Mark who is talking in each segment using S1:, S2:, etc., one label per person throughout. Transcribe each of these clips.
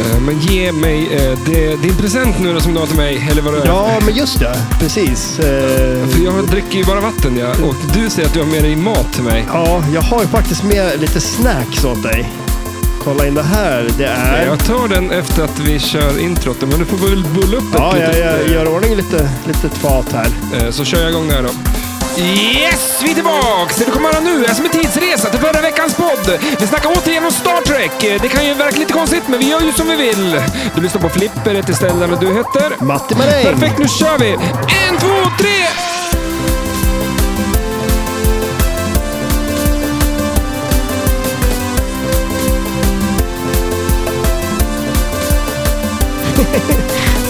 S1: Eh, Men ge mig eh, det, din present nu då som du har till mig, eller vad det är.
S2: Ja, men just det. Precis. Eh,
S1: För jag dricker ju bara vatten ja. Och du säger att du har med dig mat till mig.
S2: Ja, jag har ju faktiskt med lite snacks åt dig. Kolla in det här. Det är...
S1: Jag tar den efter att vi kör introt. Men du får väl bulla upp
S2: Ja,
S1: ett
S2: jag,
S1: litet,
S2: jag
S1: eh,
S2: gör i ordning lite, lite fat här.
S1: Eh, Så kör jag igång det här då. Yes, vi är tillbaks! Det du kommer höra nu är som en tidsresa till förra veckans podd. Vi snackar återigen om Star Trek. Eh, Det kan ju verka lite konstigt, men vi gör ju som vi vill. Du lyssnar på Flipper, heter Stellan och du heter?
S2: Matti Maräng!
S1: Perfekt, nu kör vi! En, två, tre!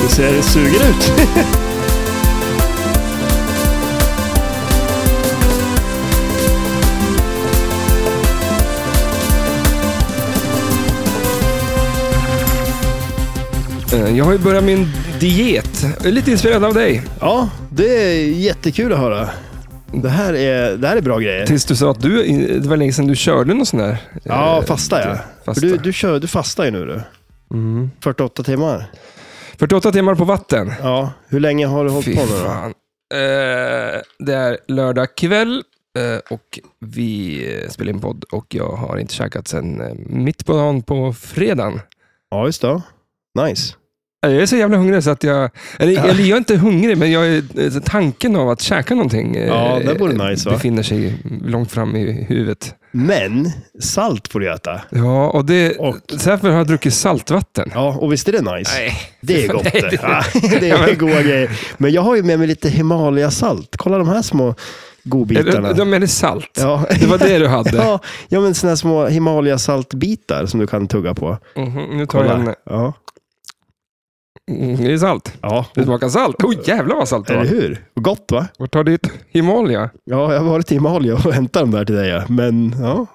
S2: Du ser det suger ut.
S1: Eh, Jag har ju börjat min diet. Jag är lite inspirerad av dig.
S2: Ja, det är jättekul att höra. Det här är, det här är bra grejer.
S1: Tills du sa att du, det var länge sedan du körde någon sån där. eh,
S2: Ja, fasta ja.
S1: fasta.
S2: För du, du, kör, du fastar ju nu du.
S1: Mm.
S2: 48 timmar.
S1: 48 timmar på vatten.
S2: Ja, hur länge har du hållit på nu då?
S1: fan. Eh, det är lördag kväll eh, och vi eh, spelar in podd och jag har inte käkat sen eh, mitt på dagen på fredagen.
S2: Ja, just det. Nice.
S1: Eh, Jag är så jävla hungrig så att jag... Eller,
S2: Ja.
S1: eller jag är inte hungrig, men jag är, eh, tanken av att käka någonting eh,
S2: Ja, det vore nice, va?
S1: befinner sig långt fram i huvudet.
S2: Men salt får du äta.
S1: Ja, och det...
S2: Och-
S1: Så därför har jag druckit saltvatten.
S2: Ja, och visst är det nice?
S1: Nej.
S2: Det är gott
S1: Nej,
S2: det.
S1: det-
S2: Ja, det är goda grejer. Men jag har ju med mig lite Himalaya-salt. Kolla de här små godbitarna.
S1: Eller, De är det salt.
S2: Ja.
S1: Det var det du hade.
S2: Ja, ja, men såna här små Himalaya-saltbitar som du kan tugga på.
S1: Mhm, nu tar jag en...
S2: Kolla. Ja.
S1: Mm, det är salt.
S2: ja,
S1: Det smakar salt. Oj, jävlar vad salt det
S2: eller
S1: var.
S2: hur? Gott va?
S1: Vart tar ditt Himalaya?
S2: Ja, jag har varit i Himalaya och hämtat dem där till dig. ja. Men ja,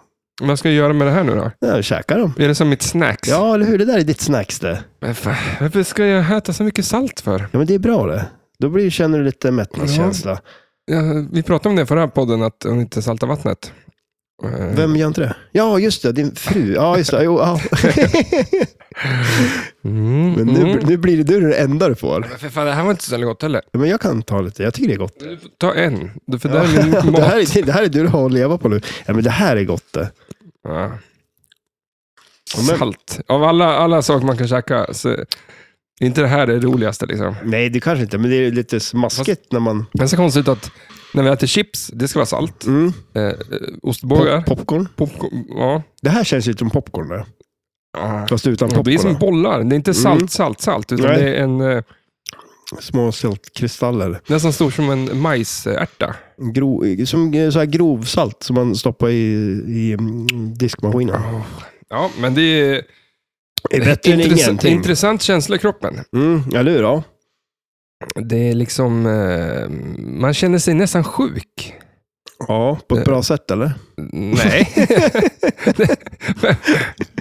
S1: Vad ska jag göra med det här nu då?
S2: jag käkar dem.
S1: Är det som mitt snacks?
S2: Ja, eller hur? Det där är ditt snacks det.
S1: Men fan, varför ska jag äta så mycket salt för?
S2: Ja, men det är bra det. Då blir, känner du lite mättnadskänsla.
S1: Ja, vi pratade om det i förra podden, att hon inte saltar vattnet. Eh,
S2: Vem gör inte det? Ja, just det. Din fru. Ja, just det. Jo, ja.
S1: Mm,
S2: Men nu,
S1: mm.
S2: nu blir det du den enda du får.
S1: Men för fan, det här var inte så jävla gott heller.
S2: Ja, Men jag kan ta lite. Jag tycker det är gott.
S1: Ta en, för det här är min mat.
S2: det, här är, det här är du har att leva på nu. Ja, men det här är gott det.
S1: Ja.
S2: Ja, men-
S1: Salt. Av alla, alla saker man kan käka, så är inte det här det roligaste. Liksom.
S2: Nej, det kanske inte, men det är lite smaskigt när man...
S1: Men så konstigt att när vi äter chips, det ska vara salt.
S2: Mm,
S1: Eh, eh, ostbågar,
S2: pop, popcorn.
S1: popcorn. Ja.
S2: Det här känns lite som popcorn. Där.
S1: Ah.
S2: Fast utan
S1: Ja, det är som
S2: popcorn.
S1: bollar. Det är inte salt,
S2: Mm.
S1: salt, salt. Utan
S2: Nej.
S1: det är en, eh,
S2: då. Små saltkristaller.
S1: nästan stor som en majsärta.
S2: Gro, som eh, så här grovsalt som man stoppar i, i mm, diskmaskinen.
S1: Ja, men det är
S2: Det är bättre än
S1: intress-
S2: ingenting.
S1: intressant känsla i kroppen.
S2: Mm, eller hur? Ja.
S1: Det är liksom, eh, man känner sig nästan sjuk.
S2: ja, på
S1: Eh.
S2: ett bra sätt eller?
S1: Nej.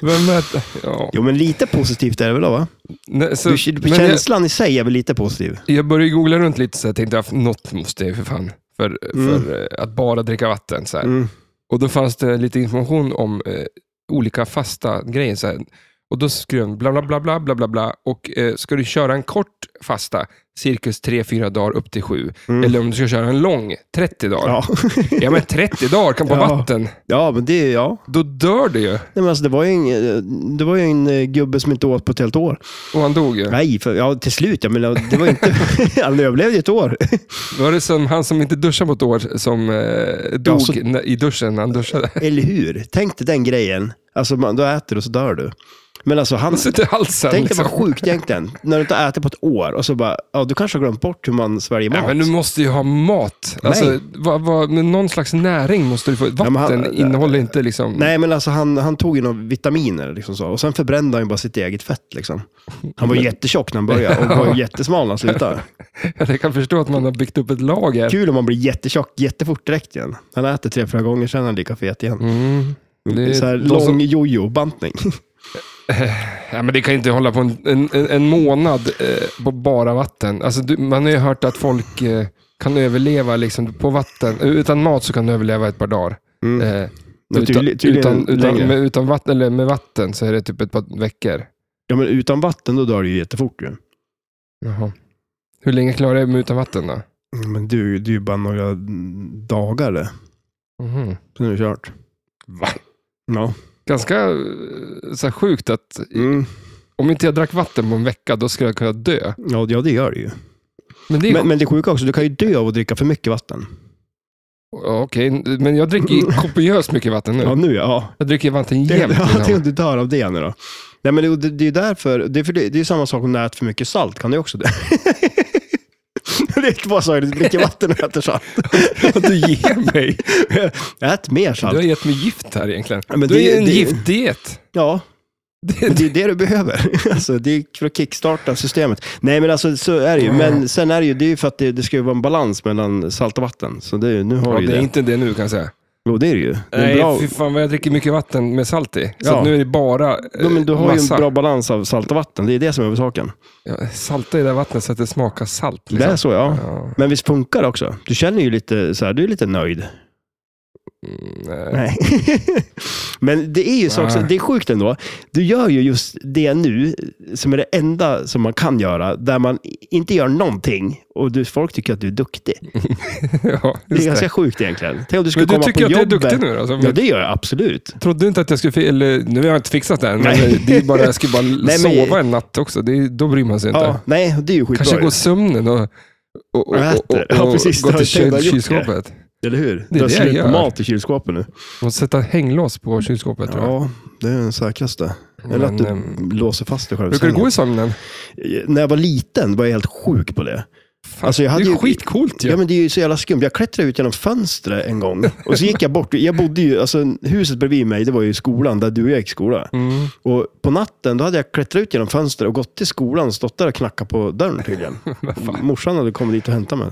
S1: Vem är ja.
S2: Jo, men lite positivt är det väl då? Va?
S1: Nej, så,
S2: Du,
S1: men jag,
S2: känslan i sig är väl lite positiv?
S1: jag började googla runt lite så jag tänkte att något måste jag ju för fan. För, för eh, att bara dricka vatten. Så här.
S2: Mm.
S1: Och då fanns det lite information om eh, olika fasta grejer. Så här. Och då skrev de bla bla bla bla bla bla bla. Och eh, ska du köra en kort fasta, cirkus 3-4 dagar upp till 7. Eller om du ska köra en lång, 30 dagar. Mm. Ja,
S2: Ja.
S1: men 30 dagar kan på
S2: Ja.
S1: vatten.
S2: ja, men det... Ja.
S1: Då dör du ju.
S2: Nej, men alltså, det, var ju en, det var ju en eh, gubbe som inte åt på ett helt år.
S1: Och han dog ju.
S2: Nej, för, ja, till slut. Jag menar, det var inte, han överlevde ju ett år.
S1: Var det som han som inte duschade på ett år som eh, dog
S2: så-
S1: när- i duschen när han duschade?
S2: Eller hur? Tänk dig den grejen. Alltså, man, du äter och så dör du. Men alltså, han,
S1: Han sitter i halsen.
S2: tänk dig
S1: liksom.
S2: vad sjukt egentligen. När du inte äter på ett år och så bara, ja, du kanske har glömt bort hur man sväljer mat.
S1: Ja, men du måste ju ha mat. Alltså,
S2: Nej.
S1: vad, vad, men någon slags näring måste du få. Vatten
S2: men han-
S1: innehåller inte liksom...
S2: Nej, men alltså han, han tog ju några vitaminer liksom så. och sen förbrände han ju bara sitt eget fett. Liksom. Han var ju jättetjock när han började och var ju jättesmal när han slutade.
S1: Jag kan förstå att man har byggt upp ett lager.
S2: Kul om man blir jättetjock jättefort direkt igen. Han äter tre, fyra gånger, sen är han lika fet igen.
S1: Mm. Det, är
S2: så här
S1: de
S2: lång
S1: som-
S2: jojo-bantning.
S1: ja, men det kan ju inte hålla på en, en, en- en månad eh, på bara vatten. Alltså, du, man har ju hört att folk eh, kan överleva liksom, på vatten. Utan mat så kan du överleva ett par dagar.
S2: Mm.
S1: Eh,
S2: Men
S1: Utan,
S2: tydli- tydligen
S1: utan, utan,
S2: längre.
S1: med, utan vatten, eller med vatten så är det typ ett par veckor.
S2: Ja, men utan vatten då dör det ju jättefort ju.
S1: Jaha. Hur länge klarar jag mig utan vatten då?
S2: Men det är ju- det är ju bara några dagar det.
S1: Mhm.
S2: Sen är det kört.
S1: Va?
S2: Ja.
S1: Ganska eh, så här sjukt att
S2: Mm.
S1: om inte jag drack vatten på en vecka, då skulle jag kunna dö.
S2: Ja, ja, det gör det ju.
S1: Men det är
S2: Men, men det sjuka också, du kan ju dö av att dricka för mycket vatten.
S1: Ja, Okej, men jag dricker ju kopiöst mycket vatten nu.
S2: Ja, nu ja.
S1: Jag dricker vatten
S2: Det,
S1: jämt.
S2: ja, det är
S1: liksom.
S2: om du dör av det nu då. Nej, men det, det, det är ju därför, det är, för det, det är samma sak om du äter för mycket salt, kan du också dö. det är två saker, du dricker vatten och äter salt.
S1: Du ger mig.
S2: Ät mer
S1: Du har
S2: salt.
S1: gett mig gift här egentligen.
S2: Ja, men
S1: du
S2: det-
S1: är ju en
S2: det-
S1: giftdiet.
S2: Ja,
S1: Det,
S2: Men Det är det du behöver. Alltså, det är för att kickstarta systemet. Nej, men alltså, så är det ju. Men sen är det ju, det är ju för att det, det ska ju vara en balans mellan salt och vatten. Så det, är ju- nu har
S1: ja,
S2: du ju
S1: det är
S2: det.
S1: inte det nu kan jag säga.
S2: Jo, det är det ju. Det är en
S1: Nej,
S2: bra...
S1: fy fan vad jag dricker mycket vatten med salt i. Så
S2: Ja.
S1: att nu är det bara eh,
S2: Ja, men du har ju
S1: massa.
S2: en bra balans av salt och vatten. Det är det som är saken.
S1: Ja, salta i det där vattnet så att det smakar salt.
S2: Det
S1: Liksom.
S2: är så, ja.
S1: Ja,
S2: Men visst funkar det också? Du känner ju lite så här, du är lite nöjd.
S1: mm, nej.
S2: Nej. men det är ju så också,
S1: Nej.
S2: det är sjukt ändå. Du gör ju just det nu, som är det enda som man kan göra, där man inte gör någonting och du, folk tycker att du är duktig.
S1: ja,
S2: Det är
S1: just det.
S2: ganska sjukt egentligen. Tänk om du skulle
S1: Men du
S2: komma
S1: tycker
S2: på
S1: att jag är
S2: jobbet.
S1: duktig nu då? Som
S2: Ja, det gör jag absolut.
S1: Jag trodde inte att jag skulle... fi- Eller, nu har jag inte fixat det än, men
S2: Nej.
S1: det är bara, jag ska bara
S2: men-
S1: sova en natt också. Det, är- då bryr man sig inte.
S2: Ja, nej, det är ju skitbra.
S1: Kanske
S2: ju.
S1: gå sömnen och, och, och,
S2: Och äter.
S1: och, och,
S2: Ja, precis.
S1: gå
S2: Det har
S1: till
S2: jag
S1: kyl,
S2: tänkt att jag gjort det.
S1: kylskåpet.
S2: Eller hur?
S1: det
S2: Du har
S1: jag
S2: slut på
S1: gör.
S2: mat i kylskåpet nu.
S1: Och sätta hänglås på kylskåpet tror jag.
S2: det är den säkraste. Eller
S1: Men,
S2: att du
S1: ehm,
S2: låser fast dig själv. i
S1: Brukar du
S2: sängen.
S1: gå i sömnen?
S2: När jag var liten var jag helt sjuk på det.
S1: Fan,
S2: Alltså, jag hade
S1: det är ju
S2: ju-
S1: skitcoolt ju.
S2: Ja, men det är ju så jävla skumt. Jag klättrade ut genom fönstret en gång och så gick jag bort. Jag bodde ju, alltså, huset bredvid mig, det var ju skolan där du och jag gick i skola.
S1: Mm.
S2: Och på natten då hade jag klättrat ut genom fönstret och gått till skolan och stått där och knackat på dörren tydligen. Morsan hade kommit dit och hämtat mig.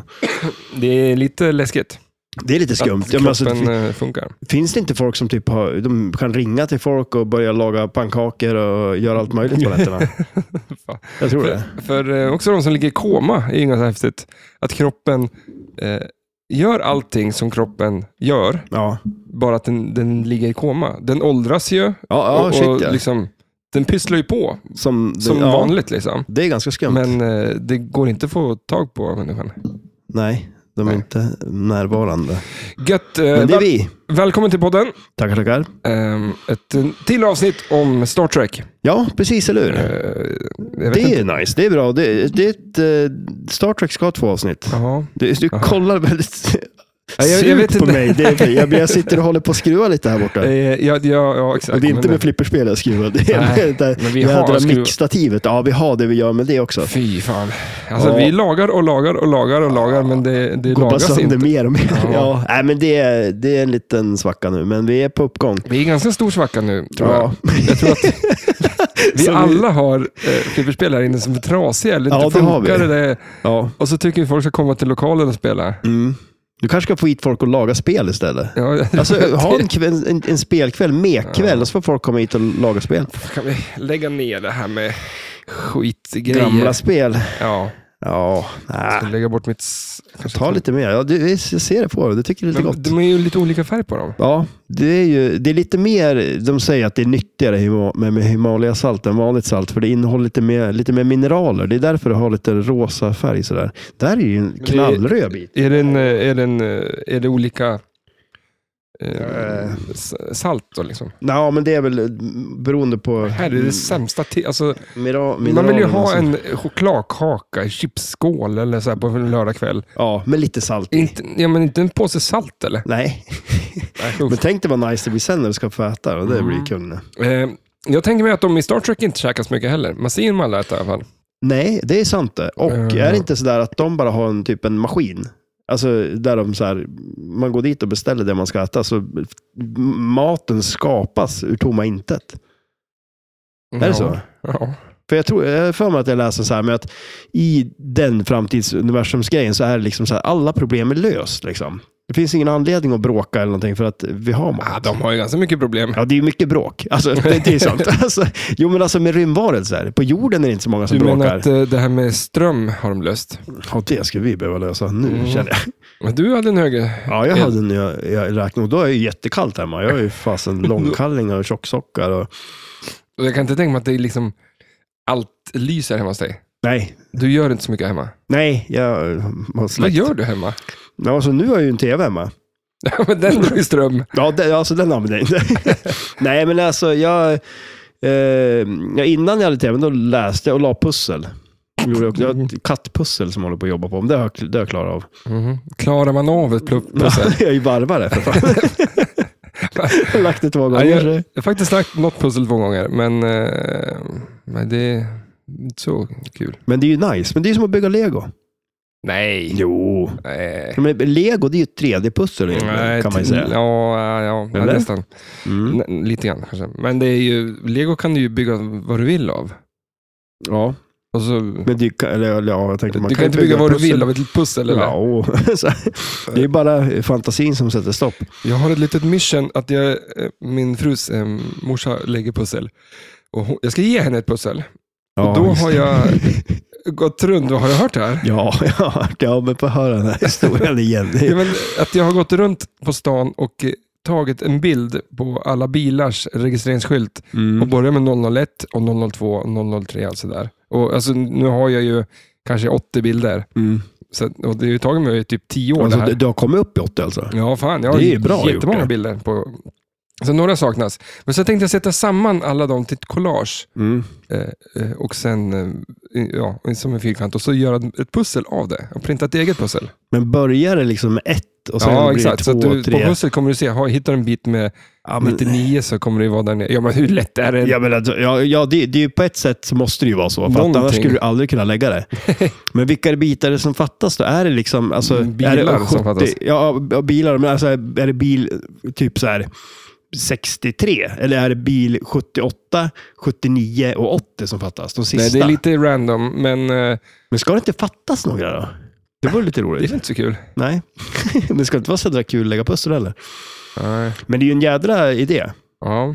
S1: Det är lite läskigt.
S2: Det är lite skumt.
S1: Att
S2: Ja,
S1: kroppen
S2: men alltså, det fin-
S1: eh, funkar.
S2: finns det inte folk som typ har, de kan ringa till folk och börja laga pannkakor och göra allt möjligt på nätterna?
S1: Fan.
S2: Jag tror det.
S1: För, för eh, också de som ligger i koma är ju ganska häftigt. Att kroppen eh, gör allting som kroppen gör,
S2: Ja,
S1: bara att den, den ligger i koma. Den åldras ju.
S2: ja, ja
S1: och,
S2: shit
S1: och
S2: ja.
S1: liksom, den pysslar ju på
S2: Som, det,
S1: som
S2: ja,
S1: vanligt. liksom.
S2: Det är ganska skumt.
S1: Men eh, det går inte att få tag på människan.
S2: Nej, de är
S1: Nej.
S2: inte närvarande.
S1: Gött! eh,
S2: Men det är
S1: väl-
S2: vi.
S1: Välkommen till podden!
S2: Tackar, tackar.
S1: Ehm, ett eh, till avsnitt om Star Trek.
S2: Ja, precis, eller hur?
S1: Eh, jag vet
S2: Det
S1: inte.
S2: är nice, det är bra. Det, det är ett, eh, Star Trek ska ha två avsnitt.
S1: Ja.
S2: Du, du
S1: Jaha.
S2: kollar väldigt
S1: Ja, jag- jag
S2: surt
S1: vet
S2: på
S1: inte.
S2: mig. Det är, jag, jag sitter och håller på att skruva lite här borta.
S1: Eh, ja, ja, ja, exakt.
S2: Och det är inte
S1: Men-
S2: med flipperspel jag skruvar. Det är
S1: Nej,
S2: med det där
S1: men vi har
S2: jädra
S1: skruv-
S2: mixstativet. Ja, vi har det vi gör med det också.
S1: Fy fan. Alltså,
S2: Ja.
S1: Vi lagar och lagar och lagar och lagar, men det, det
S2: Går bara
S1: lagas
S2: sönder
S1: inte.
S2: mer och mer.
S1: Ja.
S2: Ja. Nej, men det, är, det är en liten svacka nu, men vi är på uppgång.
S1: Vi är i ganska stor svacka nu, tror
S2: Ja,
S1: jag. Jag tror att vi
S2: Som vi-
S1: alla har eh, flipperspel här inne som är trasiga eller
S2: Ja,
S1: inte
S2: det har vi.
S1: funkar. Eller,
S2: ja.
S1: och så tycker vi folk ska komma till lokalen och spela.
S2: Mm. Du kanske ska få hit folk och laga spel istället.
S1: Ja,
S2: Alltså, ha en, kväll, en, en spelkväll, mekkväll, och så får folk komma hit och laga spel.
S1: kan vi lägga ner det här med skitgrejer?
S2: Gamla spel.
S1: Ja,
S2: Ja, nej.
S1: jag ska lägga bort mitt... s- kanske
S2: ta lite mer. Ja, det, jag ser det på dig. Du tycker det är lite
S1: Men
S2: gott.
S1: de är ju lite olika färg på dem.
S2: Ja, det är ju det är lite mer, de säger att det är nyttigare hima- med, med Himalayasalt än vanligt salt, för det innehåller lite mer, lite mer mineraler. Det är därför det har lite rosa färg. Sådär. Där är ju en knallröd bit.
S1: Är det, en, eh, är det, en, eh, är det olika eh,
S2: Eh.
S1: s- salt då liksom?
S2: Ja, men det är väl eh, beroende på mm,
S1: Här är det sämsta te- alltså,
S2: mira-
S1: Man vill ju
S2: mineralerna
S1: ha
S2: som-
S1: en chokladkaka i chipsskål eller så här på en lördagkväll.
S2: Ja, med lite salt i.
S1: Inte, ja, men inte en påse salt eller?
S2: Nej,
S1: Nej,
S2: men
S1: usch.
S2: tänk dig vad nice det blir sen när du ska få äta. Och det blir
S1: Mm.
S2: ju kul. nu.
S1: eh, jag tänker mig att de i Star Trek inte käkar så mycket heller. Man ser ju dem alla äta i alla fall.
S2: Nej, det är sant det. Och
S1: Eh.
S2: är det inte sådär att de bara har en typ en maskin? Alltså där de så här, man går dit och beställer det man ska äta, så m- maten skapas ur tomma intet. Är det så?
S1: Ja.
S2: För jag tror, jag har för mig att jag läste så här med att i den framtidsuniversumsgrejen så är det liksom så här, alla problem är löst liksom. Det finns ingen anledning att bråka eller någonting för att vi har mat.
S1: Ah, de har ju ganska mycket problem.
S2: Ja, det är ju mycket bråk. Alltså, det, det är sant. Alltså, jo, men alltså med rymdvarelser. På jorden är det inte så många som
S1: Du menar
S2: bråkar.
S1: att eh, det här med ström har de löst?
S2: Ja, det ska vi behöva lösa nu,
S1: Mm.
S2: känner jag.
S1: Men du hade en högre.
S2: Ja, jag hade en, jag, jag räknade och då är det ju jättekallt hemma. Jag har ju fasen långkallingar och tjocksockar. Och...
S1: Och jag kan inte tänka mig att det är liksom allt lyser hemma hos dig.
S2: Nej,
S1: Du gör inte så mycket hemma.
S2: nej, jag har
S1: Vad
S2: släckt.
S1: gör du hemma?
S2: Ja, alltså, nu har jag ju en tv hemma.
S1: Ja, men den drar ju ström.
S2: Ja, det, alltså den använder jag inte. Nej, men alltså jag... Eh, ja, innan jag hade tv, då läste jag och la pussel. Jag gjorde också, jag har ett kattpussel som jag håller på att jobba på. Men det har jag, det har jag klarat av.
S1: Mhm. Klarar man av ett plupp?
S2: Mm-hmm. Ja, jag är ju varvare för fan. jag har lagt det två gånger.
S1: Ja, Jag har faktiskt lagt något pussel två gånger, men eh, nej, det är inte så kul.
S2: Men det är ju nice. Men det är ju som att bygga lego.
S1: Nej.
S2: Jo.
S1: Nej,
S2: Men lego, det är ju ett 3D-pussel egentligen, Mm, kan man ju
S1: till-
S2: säga.
S1: Ja, ja, ja, ja
S2: Eller?
S1: nästan.
S2: Mm.
S1: N- lite grann kanske. Men det är ju, lego kan du ju bygga vad du vill av.
S2: Ja,
S1: Och så,
S2: men det, kan- eller, eller, ja, jag tänkte, man
S1: du kan
S2: ju
S1: inte bygga, vad du
S2: pussel.
S1: vill av ett pussel. Eller?
S2: Ja, och- så här. det är bara fantasin som sätter stopp.
S1: Jag har ett litet mission att jag, eh, min frus eh, morsa lägger pussel. Och hon, jag ska ge henne ett pussel.
S2: Ja,
S1: och då
S2: just
S1: har
S2: det.
S1: jag gått runt, vad har jag hört det här?
S2: Ja, jag har hört det. Ja, men få höra den här historien igen.
S1: Ja, men att jag har gått runt på stan och eh, tagit en bild på alla bilars registreringsskylt och
S2: Mm.
S1: börjat med 001 och 002 och 003 alltså där. Och alltså, nu har jag ju kanske 80 bilder.
S2: Mm.
S1: Så, att- och det har ju tagit mig typ 10 år
S2: Alltså,
S1: det
S2: du,
S1: här. Mm.
S2: du har kommit upp i 80 alltså?
S1: Ja, fan. Jag har
S2: Det är ju bra gjort
S1: jättemånga
S2: det.
S1: bilder. På... Så några saknas. Men så tänkte jag sätta samman alla dem till ett collage.
S2: Mm.
S1: Eh, eh, och sen, eh, ja, som en fyrkant. Och så göra ett pussel av det. Och printa ett eget pussel.
S2: Men börjar det liksom med ett och sen
S1: ja,
S2: blir
S1: exakt.
S2: det
S1: Så
S2: två,
S1: att du, på
S2: tre?
S1: pussel kommer du se, har, hittar du en bit med
S2: ja, men,
S1: 99 så kommer det ju vara där nere. Ja, men hur lätt är det?
S2: ja, men alltså, ja, ja det, det är ju på ett sätt så måste det ju vara så. För att
S1: Någonting.
S2: annars skulle du aldrig kunna lägga det. men vilka bitar är det som fattas då? Är det liksom... Alltså,
S1: Mm, Bilar
S2: är det
S1: som fattas.
S2: Ja, ja, bilar. Men alltså, är det bil typ så här 63? Eller är det bil 78, 79 och 80 som fattas? De sista?
S1: Nej, det är lite random, men eh,
S2: Men ska det inte fattas några då? Det vore lite
S1: det är
S2: roligt.
S1: väl inte så kul.
S2: Nej, det ska inte vara så jädra kul att lägga pussel heller.
S1: Nej.
S2: Men det är ju en jädra idé.
S1: Ja,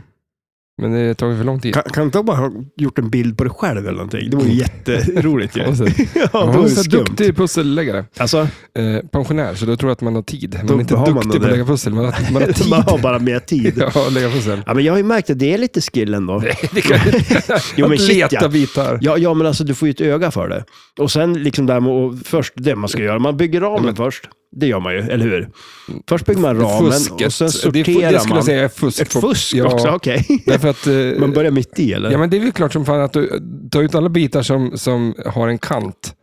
S1: men det har tagit för lång tid.
S2: Kan, kan inte de bara ha gjort en bild på det själv eller någonting? Det vore ju jätteroligt ju.
S1: Mm. Ja, så-
S2: ja,
S1: Ja,
S2: det
S1: hon
S2: vore
S1: är så
S2: skumt.
S1: duktig pusselläggare.
S2: Alltså,
S1: Eh, pensionär, så då tror jag att man har tid. Man
S2: Då
S1: är inte
S2: har man
S1: duktig på
S2: det.
S1: att lägga pussel, man har, man har tid
S2: man har bara mer tid.
S1: ja, att lägga pussel.
S2: Ja, men jag har ju märkt att det är lite skill ändå.
S1: Det kan,
S2: Jo, men
S1: att
S2: shit,
S1: leta
S2: ja.
S1: bitar.
S2: Ja, ja, men alltså du får ju ett öga för det. Och sen liksom där med, och först det man ska göra. Man bygger ramen
S1: Mm.
S2: först. Det gör man ju, eller hur? Först bygger man ramen
S1: Fusket.
S2: och sen
S1: det,
S2: sorterar
S1: är fu- det skulle
S2: man.
S1: jag säga är fusk.
S2: Ett
S1: på-
S2: fusk
S1: ja,
S2: också, okej.
S1: Därför att, eh,
S2: Man börjar mitt i eller?
S1: ja, men det är väl klart som fan att du tar ut alla bitar som, som har en kant.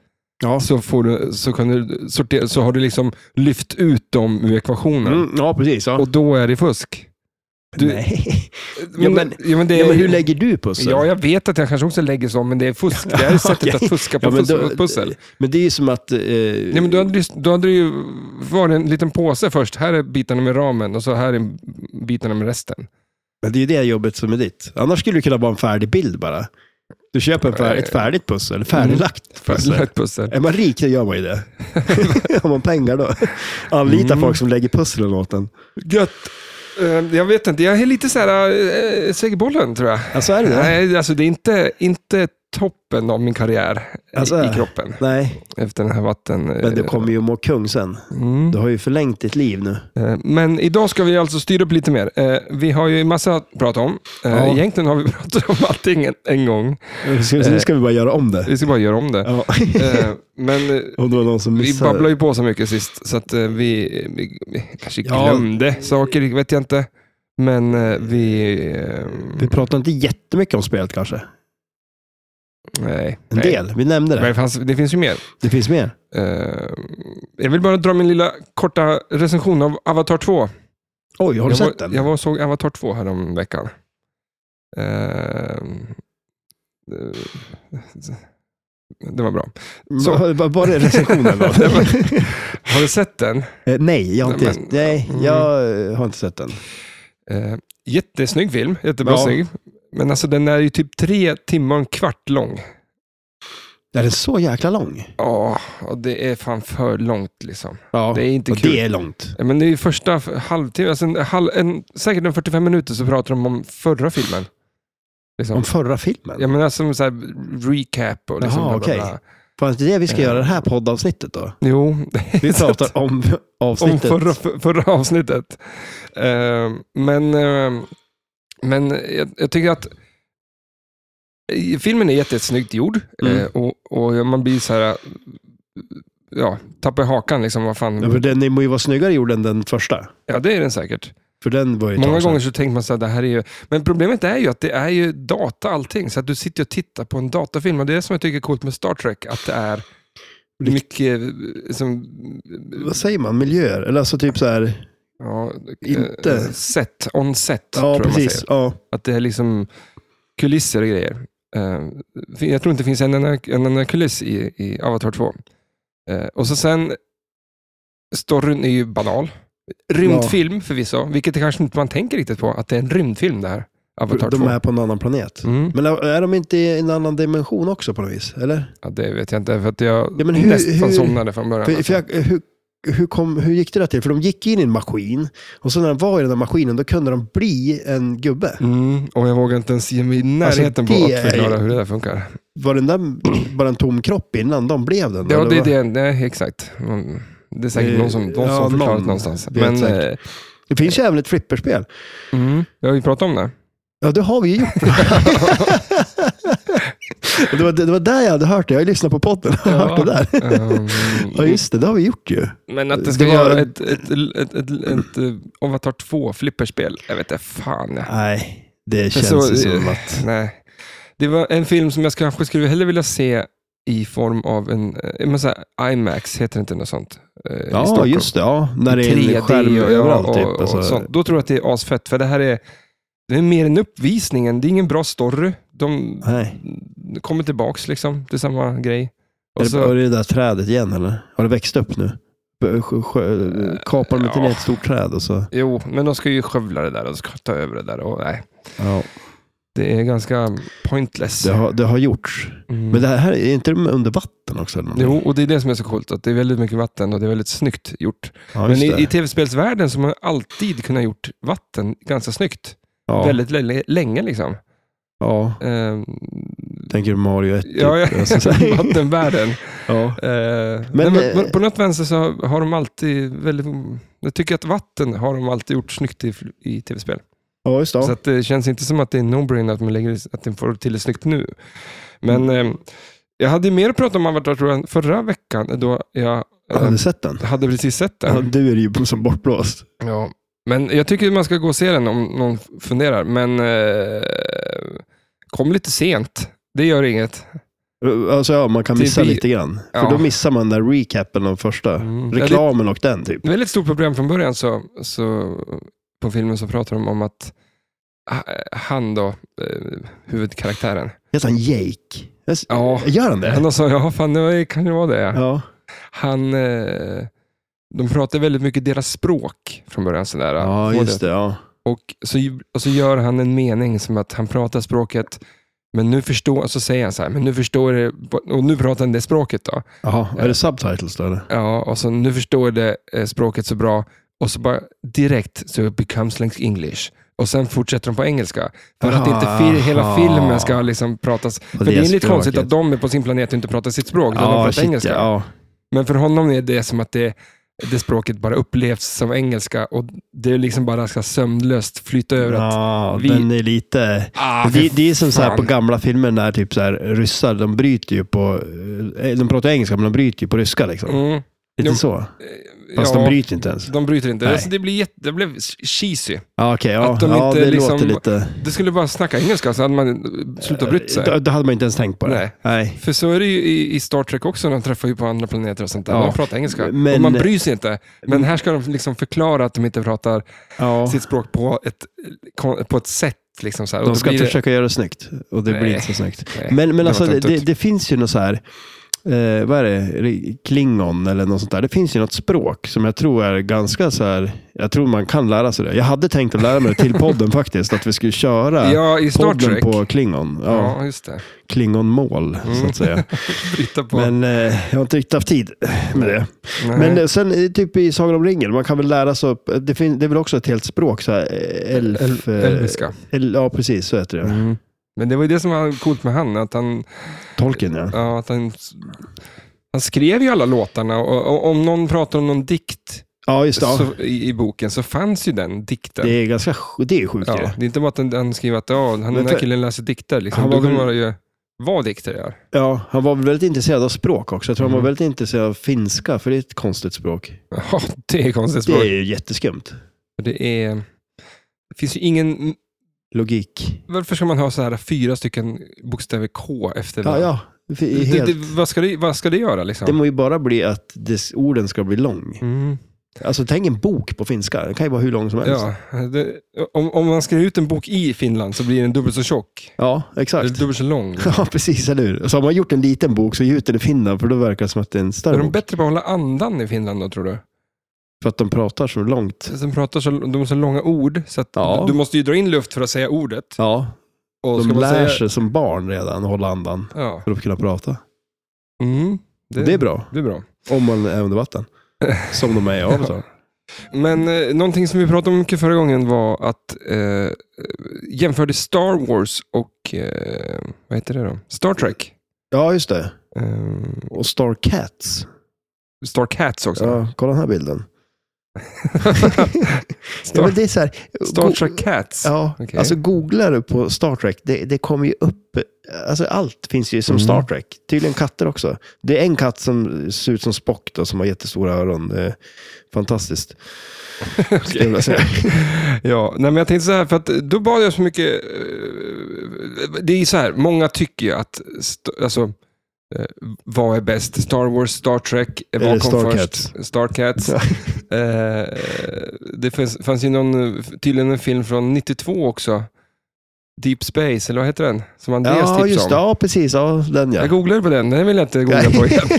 S2: Ja.
S1: Så, får du, så, kan du sortera, så har du liksom lyft ut dem ur ekvationen.
S2: Mm, ja, precis. Ja.
S1: Och då är det fusk. du-
S2: Nej. Ja, men-
S1: ja, men, det
S2: Ja,
S1: är-
S2: men hur lägger du pussel?
S1: Ja, jag vet att jag kanske också lägger så, men det är fusk. Det här är sättet
S2: Okej.
S1: att fuska på
S2: Ja, men
S1: fus-
S2: då-
S1: pussel.
S2: Men det är ju som att... Eh,
S1: Ja, men då, hade, det- då hade det ju varit en liten påse först. Här är bitarna med ramen och så här är bitarna med resten.
S2: men det är ju det jobbet som är ditt. Annars skulle det kunna vara en färdig bild bara. Du köper en fär, ett färdigt pussel, färdiglagt pussel.
S1: Mm. Färdiglagt pussel.
S2: Är man rik, då gör man ju det. Har man pengar då? Anlita
S1: Mm.
S2: folk som lägger pusslen åt en.
S1: Gött. Eh, Jag vet inte, jag är lite så här, äh, sägerbollen tror jag.
S2: Alltså är det det?
S1: Nej, alltså det är inte, inte toppen av min karriär i-
S2: Alltså.
S1: i kroppen
S2: Nej,
S1: efter den här vatten... eh,
S2: men du kommer ju må kung sen.
S1: Mm.
S2: Du har ju förlängt ditt liv nu.
S1: Eh, Men idag ska vi alltså styra upp lite mer. Eh, Vi har ju en massa att prata om. Eh,
S2: Ja.
S1: Egentligen har vi pratat om allting en, en gång.
S2: Så nu ska vi bara göra om det.
S1: Vi ska bara göra om det.
S2: Ja.
S1: Eh, Men eh,
S2: Om det var någon som
S1: vi
S2: missade.
S1: babblade ju på så mycket sist, så att eh, vi, vi, vi kanske
S2: Ja.
S1: glömde saker, vet jag inte. Men eh, vi... eh,
S2: Vi pratar inte jättemycket om spelet kanske.
S1: Nej.
S2: En
S1: nej.
S2: del. Vi nämnde
S1: Men
S2: det.
S1: det, fanns, det finns ju mer.
S2: Det finns mer.
S1: Eh, Jag vill bara dra min lilla korta recension av Avatar 2.
S2: Oj, har du
S1: jag
S2: sett
S1: var,
S2: den?
S1: Jag var och såg Avatar 2 häromveckan. Uh, det var bra. så.
S2: Va- va- Var det recensionen då?
S1: Det Har du sett den?
S2: Eh, nej, jag har inte,
S1: Nej, men-
S2: nej,
S1: Mm.
S2: jag eh, har inte sett den.
S1: Eh, jättesnygg film, jättebra
S2: Ja.
S1: snygg. Men alltså den är ju typ tre timmar och en kvart lång.
S2: Är den så jäkla lång?
S1: Ja, och det är fan för långt liksom.
S2: Ja,
S1: Det är inte
S2: och
S1: kul.
S2: det är långt.
S1: Men det är ju första f- halvtimmen, alltså en, halv, en, säkert en 45 minuter så pratar de om förra filmen. Liksom.
S2: Om förra filmen.
S1: Ja, men alltså så här recap och liksom bla,
S2: Jaha,
S1: bla,
S2: okej.
S1: bla.
S2: Fast det är det vi ska
S1: Ja.
S2: göra det här poddavsnittet då.
S1: Jo,
S2: Vi pratar om
S1: om
S2: avsnittet.
S1: förra, för- förra avsnittet. Eh, men eh, men jag, jag tycker att eh, filmen är jättesnyggt gjord eh,
S2: Mm.
S1: och, och man blir så här, eh, ja, tappar hakan liksom, vad fan.
S2: Ja, för den må ju vara snyggare gjord än den första.
S1: Ja, det är den säkert.
S2: För den var ju ett
S1: Många
S2: tag sedan.
S1: gånger så tänker man så här, det här är ju... Men problemet är ju att det är ju data allting, så att du sitter och tittar på en datafilm. Och det är det som jag tycker är coolt med Star Trek, att det är
S2: Lite-
S1: mycket eh, som, eh,
S2: Vad säger man? Miljöer? Eller alltså typ så här...
S1: ja, eh,
S2: Inte-
S1: set, on set. tror
S2: Ja,
S1: jag man
S2: precis.
S1: säger.
S2: Ja.
S1: Att det är liksom kulisser och grejer. Eh, fin- Jag tror inte det finns en enda, en enda kuliss i, i Avatar 2. Eh, Och så sen, storyn är ju banal. Rymdfilm förvisso, vilket det kanske inte man tänker riktigt på, att det är en rymdfilm det här. Avatar 2.
S2: De är på en annan planet.
S1: Mm.
S2: Men är de inte i en annan dimension också på något vis? Eller?
S1: Ja, det vet jag inte, för att jag
S2: Ja, men hur-
S1: nästan
S2: hur-
S1: somnade från början. alltså.
S2: För, för jag, hur, hur, kom, hur gick det där till? För de gick in i en maskin och sen när de var i den där maskinen då kunde de bli en gubbe.
S1: Mm, och jag vågar inte ens ge mig i
S2: Alltså,
S1: närheten på
S2: det
S1: att
S2: är-
S1: förklara hur det där funkar.
S2: Var den där bara en tom kropp innan de blev den?
S1: Ja,
S2: eller
S1: det är
S2: vad?
S1: det. Nej, exakt. Mm, Det är säkert
S2: Eh,
S1: någon som, någon som
S2: ja,
S1: förklarat
S2: någon
S1: någonstans.
S2: vet
S1: Men, eh,
S2: säkert. det finns ju även ett flipperspel.
S1: mm, jag har ju pratat om det.
S2: Ja, det har vi ju gjort. det, var, det, var där jag hade hört det. Jag har ju lyssnat på podden och
S1: Ja.
S2: hört det där.
S1: Ehm,
S2: Ja, just det. Det har vi gjort ju.
S1: men att det ska
S2: Det var-
S1: vara ett, ett, ett, ett, ett, eh, Avatar 2-flipperspel, jag vet inte, fan. ja.
S2: Nej, det känns
S1: så- eh,
S2: ju som att...
S1: Nej. Det var en film som jag kanske skulle hellre vilja se i form av en, eh, men så här, IMAX, heter det inte något sånt? eh, i
S2: Ja,
S1: Stockholm?
S2: just det. Ja, när det är
S1: 3D
S2: en skärm
S1: och,
S2: överallt.
S1: och,
S2: typ.
S1: och,
S2: Alltså,
S1: sånt. Då tror jag att det är asfett, för det här är, det är mer en uppvisning. än- Det är ingen bra story. De
S2: Nej.
S1: kommer tillbaks liksom till samma grej.
S2: Är
S1: Och
S2: det,
S1: så-
S2: är det det där trädet igen eller? Har det växt upp nu? B- sjö- sjö- Kapar de inte
S1: Ja.
S2: ner ett stort träd och så?
S1: jo, men de ska ju skövla det där och ska ta över det där. Och, nej,
S2: Ja,
S1: det är ganska pointless.
S2: det har, det har gjorts.
S1: Mm.
S2: Men det här, är inte de under vatten också? Eller någonting?
S1: Jo, och det är det som är så coolt, att det är väldigt mycket vatten och det är väldigt snyggt gjort.
S2: ja,
S1: Men
S2: just
S1: i,
S2: det.
S1: i tv-spelsvärlden så har man alltid kunnat gjort vatten ganska snyggt.
S2: ja,
S1: Väldigt lä- länge liksom.
S2: ja,
S1: Uh,
S2: tänker Mario 1.
S1: ja,
S2: typ. Alltså, så här.
S1: vattenvärlden.
S2: ja.
S1: Eh,
S2: Men,
S1: nej, men,
S2: eh,
S1: på- på något vänster så har de alltid väldigt... Jag tycker att vatten har de alltid gjort snyggt i, i tv-spel.
S2: ja, just det.
S1: Så
S2: Ja.
S1: att det känns inte som att det är no-brainer att man lägger, att de får till det snyggt nu. Men eh, jag hade mer att prata om Avatar tror jag, förra veckan då jag
S2: Har
S1: eh,
S2: du sett den?
S1: hade precis sett
S2: Ja,
S1: den.
S2: du är ju som bortblåst.
S1: Ja. Men jag tycker man ska gå och se den om någon funderar. Men eh, kom lite sent. Det gör inget.
S2: Alltså ja, man kan missa
S1: Typ i-
S2: lite grann.
S1: Ja.
S2: För då missar man den där recapen av första.
S1: Mm.
S2: Reklamen och den typ.
S1: Det är ett väldigt stort problem från början. Så, så, på filmen så pratar de om att h- han då, eh, huvudkaraktären.
S2: Heter han Jake? Jag s-
S1: Ja.
S2: Gör han det?
S1: Han sa, ja fan det kan ju vara det.
S2: Ja.
S1: Han, eh, de pratar väldigt mycket deras språk från början. Sådär,
S2: Ja,
S1: Både-
S2: just det. Ja.
S1: Och, så, ju- och så gör han en mening som att han pratar språket men nu förstår, så säger han så här, men nu förstår det, och nu pratar han det språket då.
S2: Jaha, är det subtitles då eller?
S1: Ja, och så nu förstår det eh, språket så bra och så bara direkt så it becomes like English. Och sen fortsätter de på engelska. För att inte fil- hela
S2: Aha.
S1: filmen ska liksom pratas. För det
S2: det
S1: är lite
S2: språket.
S1: konstigt att de är på sin planet och inte pratar sitt språk, utan de pratar
S2: shit,
S1: engelska.
S2: Ja.
S1: Men för honom är det som att det, det språket bara upplevs som engelska och det är liksom bara ska sömnlöst flyta över att
S2: ja
S1: vi-
S2: den är lite...
S1: Ah,
S2: det,
S1: för
S2: det är som så här på
S1: fan.
S2: gamla filmer när typ så här, ryssar, de bryter ju på... eh, De pratar engelska, men de bryter ju på ryska liksom.
S1: Mm.
S2: Lite
S1: Jo,
S2: så. Fast de bryter inte ens.
S1: De bryter inte.
S2: Nej.
S1: Alltså, det, blir jätte, det blev cheesy.
S2: Ja, okej. ja,
S1: Att de
S2: ja,
S1: inte
S2: det
S1: liksom-
S2: låter lite... Eh,
S1: Det skulle bara snacka engelska så hade man slutat bryta sig.
S2: Då, då hade man inte ens tänkt på det.
S1: Nej.
S2: Nej.
S1: För så är det ju i, i Star Trek också, de träffar ju på andra planeter och sånt där.
S2: Ja.
S1: De pratar engelska.
S2: Men-
S1: och man bryr sig inte. Men här ska de liksom förklara att de inte pratar
S2: Ja.
S1: sitt språk på ett, på ett sätt. Liksom så här. Och
S2: De
S1: då
S2: ska
S1: blir det-
S2: försöka göra det snyggt och det
S1: Nej.
S2: blir inte så snyggt.
S1: Nej,
S2: Men, men
S1: det
S2: alltså,
S1: var
S2: det,
S1: dumt
S2: det,
S1: ut.
S2: det finns ju något så här eh, vad är det, klingon eller något sånt där. Det finns ju något språk som jag tror är ganska så här, jag tror man kan lära sig det. Jag hade tänkt att lära mig det till podden faktiskt, att vi skulle köra
S1: Ja, i Star
S2: podden
S1: Trek.
S2: på klingon. Ja,
S1: Ja, Mm. just det.
S2: Klingonmål, så att säga.
S1: Bryta på.
S2: Men eh, jag har inte riktigt haft tid med det.
S1: Nej.
S2: Men eh, sen eh, typ i Sagan om ringen, man kan väl lära sig upp, det, fin- det är väl också ett helt språk, så här, eh, elf,
S1: El-
S2: eh,
S1: Elviska.
S2: el, ja, precis så heter det.
S1: Mm. Men det var ju det som var coolt med han, att han,
S2: Tolkien ja.
S1: ja, att han, han skrev ju alla låtarna och, och om någon pratar om någon dikt
S2: Ja, just det. ja.
S1: så, i, i boken så fanns ju den dikten.
S2: Det är ganska sj- det är sjukt ju.
S1: ja, det är inte bara att han, han skriver att ja, han, den
S2: för-
S1: här killen läser dikter. Liksom.
S2: Han
S1: Han
S2: var
S1: Då kan man
S2: väl-
S1: ju vara dikter är.
S2: Ja, han var väl väldigt intresserad av språk också. Jag tror han
S1: Mm.
S2: var väldigt intresserad av finska, för det är ett konstigt språk.
S1: Ja, det är konstigt
S2: Det
S1: språk.
S2: är ju jätteskumt.
S1: Det, är... det finns ju ingen...
S2: Logik.
S1: Varför ska man ha så här fyra stycken bokstäver K efter
S2: Ja,
S1: varandra?
S2: ja. Det, är
S1: Det,
S2: helt,
S1: det,
S2: det,
S1: vad, ska det, vad ska det göra liksom?
S2: må ju bara bli att dess, orden ska bli lång.
S1: Mm.
S2: Alltså tänk en bok på finska. Den kan ju vara hur lång som helst. Ja,
S1: Ja, det, om, om man skriver ut en bok i Finland så blir den dubbelt så tjock. Eller
S2: exakt.
S1: dubbelt så lång.
S2: Ja, precis. Eller hur? Så har man gjort en liten bok så ge ut den i Finland, för då verkar det som att det är en
S1: Är
S2: större
S1: de
S2: bok.
S1: bättre på att hålla andan i Finland då, tror du?
S2: För att de pratar så långt.
S1: De, pratar så, de har så långa ord, så att
S2: Ja.
S1: du, du måste ju dra in luft för att säga ordet.
S2: Ja,
S1: Och
S2: de
S1: ska man
S2: lär
S1: säga-
S2: sig som barn redan hålla andan
S1: Ja.
S2: för att kunna prata.
S1: Mm,
S2: Det, är bra,
S1: Det är bra.
S2: om man är under vatten. Som de är i Avatar.
S1: Men eh, någonting som vi pratade om mycket förra gången var att eh, jämförde Star Wars och eh, vad heter det då? Star Trek.
S2: Ja, just det.
S1: Eh,
S2: Och Star Cats.
S1: Star Cats också.
S2: Ja, kolla den här bilden. ja, men
S1: Star,
S2: det är så här,
S1: Star
S2: go-
S1: Trek Cats.
S2: Ja,
S1: Okej.
S2: alltså googlar du på Star Trek, det, det kommer ju upp. Alltså allt finns ju som
S1: Mm.
S2: Star Trek. Tydligen katter också. Det är en katt som ser ut som Spock då, som har jättestora öron. Det är fantastiskt. skulle jag vilja säga.
S1: Ja, nej, men jag tänkte så här, för att då bad jag så mycket... eh, Det är så här, många tycker ju att... st- Alltså, eh, vad är bäst? Star Wars, Star Trek, eh,
S2: Eller
S1: vad kom
S2: Star
S1: först? Star Cats.
S2: Ja.
S1: Eh, det fanns, fanns ju någon, eh, tydligen en film från 92 också. Deep Space, eller vad heter den? Som Andreas
S2: ja,
S1: tipsade
S2: just det.
S1: om.
S2: Ja, precis. Ja, den ja.
S1: Jag googlade på den, den vill jag inte googla på igen.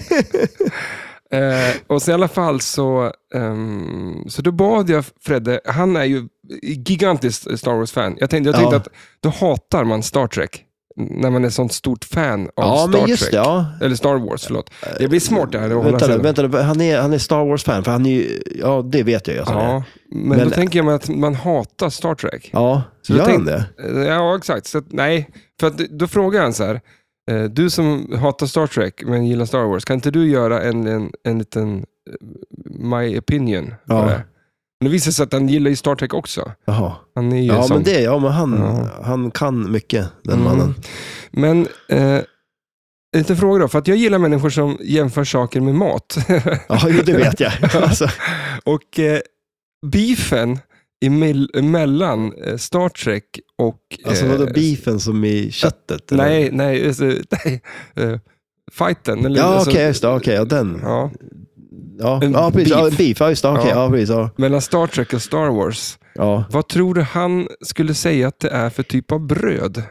S1: Eh, och så i alla fall så, ehm, så då bad jag Fredde, han är ju gigantisk Star Wars-fan. Jag tänkte, jag tänkte
S2: Ja.
S1: att då hatar man Star Trek, när man är sånt stort fan av
S2: ja,
S1: Star
S2: men just
S1: Trek.
S2: det. Ja. Eh,
S1: Eller Star Wars, förlåt. Det blir smart det här. att hålla
S2: Vänta,
S1: sig-
S2: nu, vänta, nu. han är, han är Star Wars-fan, för han är ju, ja det vet jag ju att han är.
S1: Ja, men,
S2: Men-
S1: då tänker jag mig att man hatar Star Trek.
S2: Ja,
S1: Så
S2: gör
S1: jag
S2: han
S1: tänkte-
S2: det?
S1: Eh, Ja, exakt. Så att, nej, för att, då frågar han så här, eh, du som hatar Star Trek men gillar Star Wars, kan inte du göra en, en, en liten eh, My opinion? på
S2: Ja.
S1: det här?" Men det visar sig att han gillar ju Star Trek också.
S2: Jaha.
S1: Han är ju
S2: Ja,
S1: sån.
S2: men det, ja, men han,
S1: Ja.
S2: han kan mycket, den
S1: Mm.
S2: mannen.
S1: Men, eh, lite fråga då, för att jag gillar människor som jämför saker med mat.
S2: Ja, jo, det vet jag. Alltså,
S1: och eh, beefen emell- mellan eh, Star Trek och...
S2: alltså
S1: eh,
S2: vadå beefen som i köttet? eller?
S1: Nej, nej, alltså, nej. eh, fighten. Eller,
S2: Ja,
S1: alltså,
S2: okej, just det. Okej, ja, den.
S1: Ja,
S2: Ja,
S1: en
S2: ja precis. Ja,
S1: beef.
S2: en beef. Ja, just det. Okej,
S1: Ja.
S2: ja. precis. Ja.
S1: mellan Star Trek och Star Wars.
S2: Ja.
S1: Vad tror du han skulle säga att det är för typ av bröd?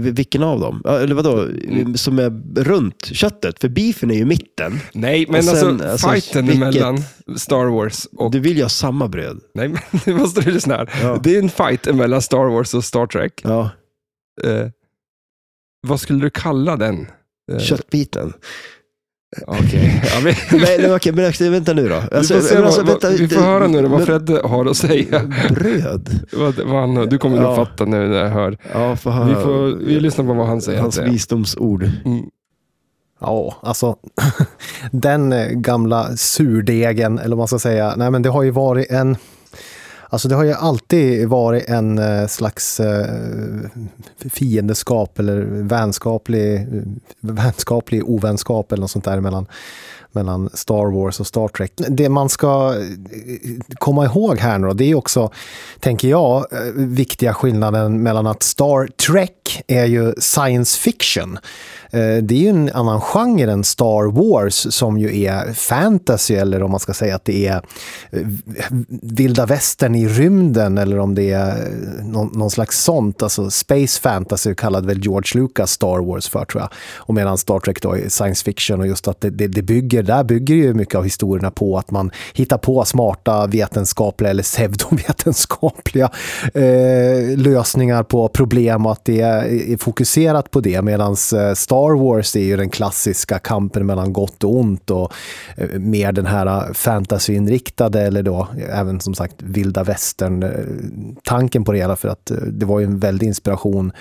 S2: Vi- Vilken av dem? Ja, Eller vadå?
S1: Mm.
S2: Som är runt köttet? För beefen är ju i mitten.
S1: Nej, men
S2: Och sen,
S1: alltså,
S2: alltså,
S1: fighten
S2: vilket-
S1: mellan Star Wars och...
S2: Du vill ju ha samma bröd.
S1: Nej, men nu måste du lyssna här.
S2: Ja.
S1: Det är en fight mellan Star Wars och Star Trek.
S2: Ja.
S1: Eh, vad skulle du kalla den? Eh,
S2: Köttbiten.
S1: Okej. Ja, men-
S2: Nej, nej, okej, men alltså, vänta nu då. Alltså,
S1: vi, får se
S2: men
S1: vad,
S2: alltså,
S1: vad, vi får höra nu då vad
S2: men-
S1: Fred har att säga.
S2: Bröd?
S1: Vad, vad han, du kommer nog
S2: Ja.
S1: fatta nu när jag hör.
S2: Ja, får höra.
S1: Vi, får, vi lyssnar på vad han säger.
S2: Hans
S1: att det är.
S2: visdomsord.
S1: Mm.
S3: Ja, alltså den eh, gamla surdegen, eller vad man ska säga, nej men det har ju varit en Alltså det har ju alltid varit en eh, slags eh, fiendeskap eller vänskaplig, eh, vänskaplig ovänskap eller något sånt där mellan, mellan Star Wars och Star Trek. Det man ska eh, komma ihåg här nu då, det är ju också, tänker jag, eh, viktiga skillnaden mellan att Star Trek är ju science fiction. Eh, Det är ju en annan genre än Star Wars som ju är fantasy eller om man ska säga att det är eh, vilda västern i i rymden eller om det är eh, någon, någon slags sånt. Alltså space fantasy kallade väl George Lucas Star Wars för tror jag. Och medan Star Trek då är science fiction och just att det, det, det bygger, där bygger ju mycket av historierna på att man hittar på smarta vetenskapliga eller pseudovetenskapliga eh, lösningar på problem och att det är fokuserat på det. Medan Star Wars är ju den klassiska kampen mellan gott och ont och eh, mer den här fantasyinriktade eller då även som sagt vilda västern-tanken på det hela för att eh, det var ju en väldig inspiration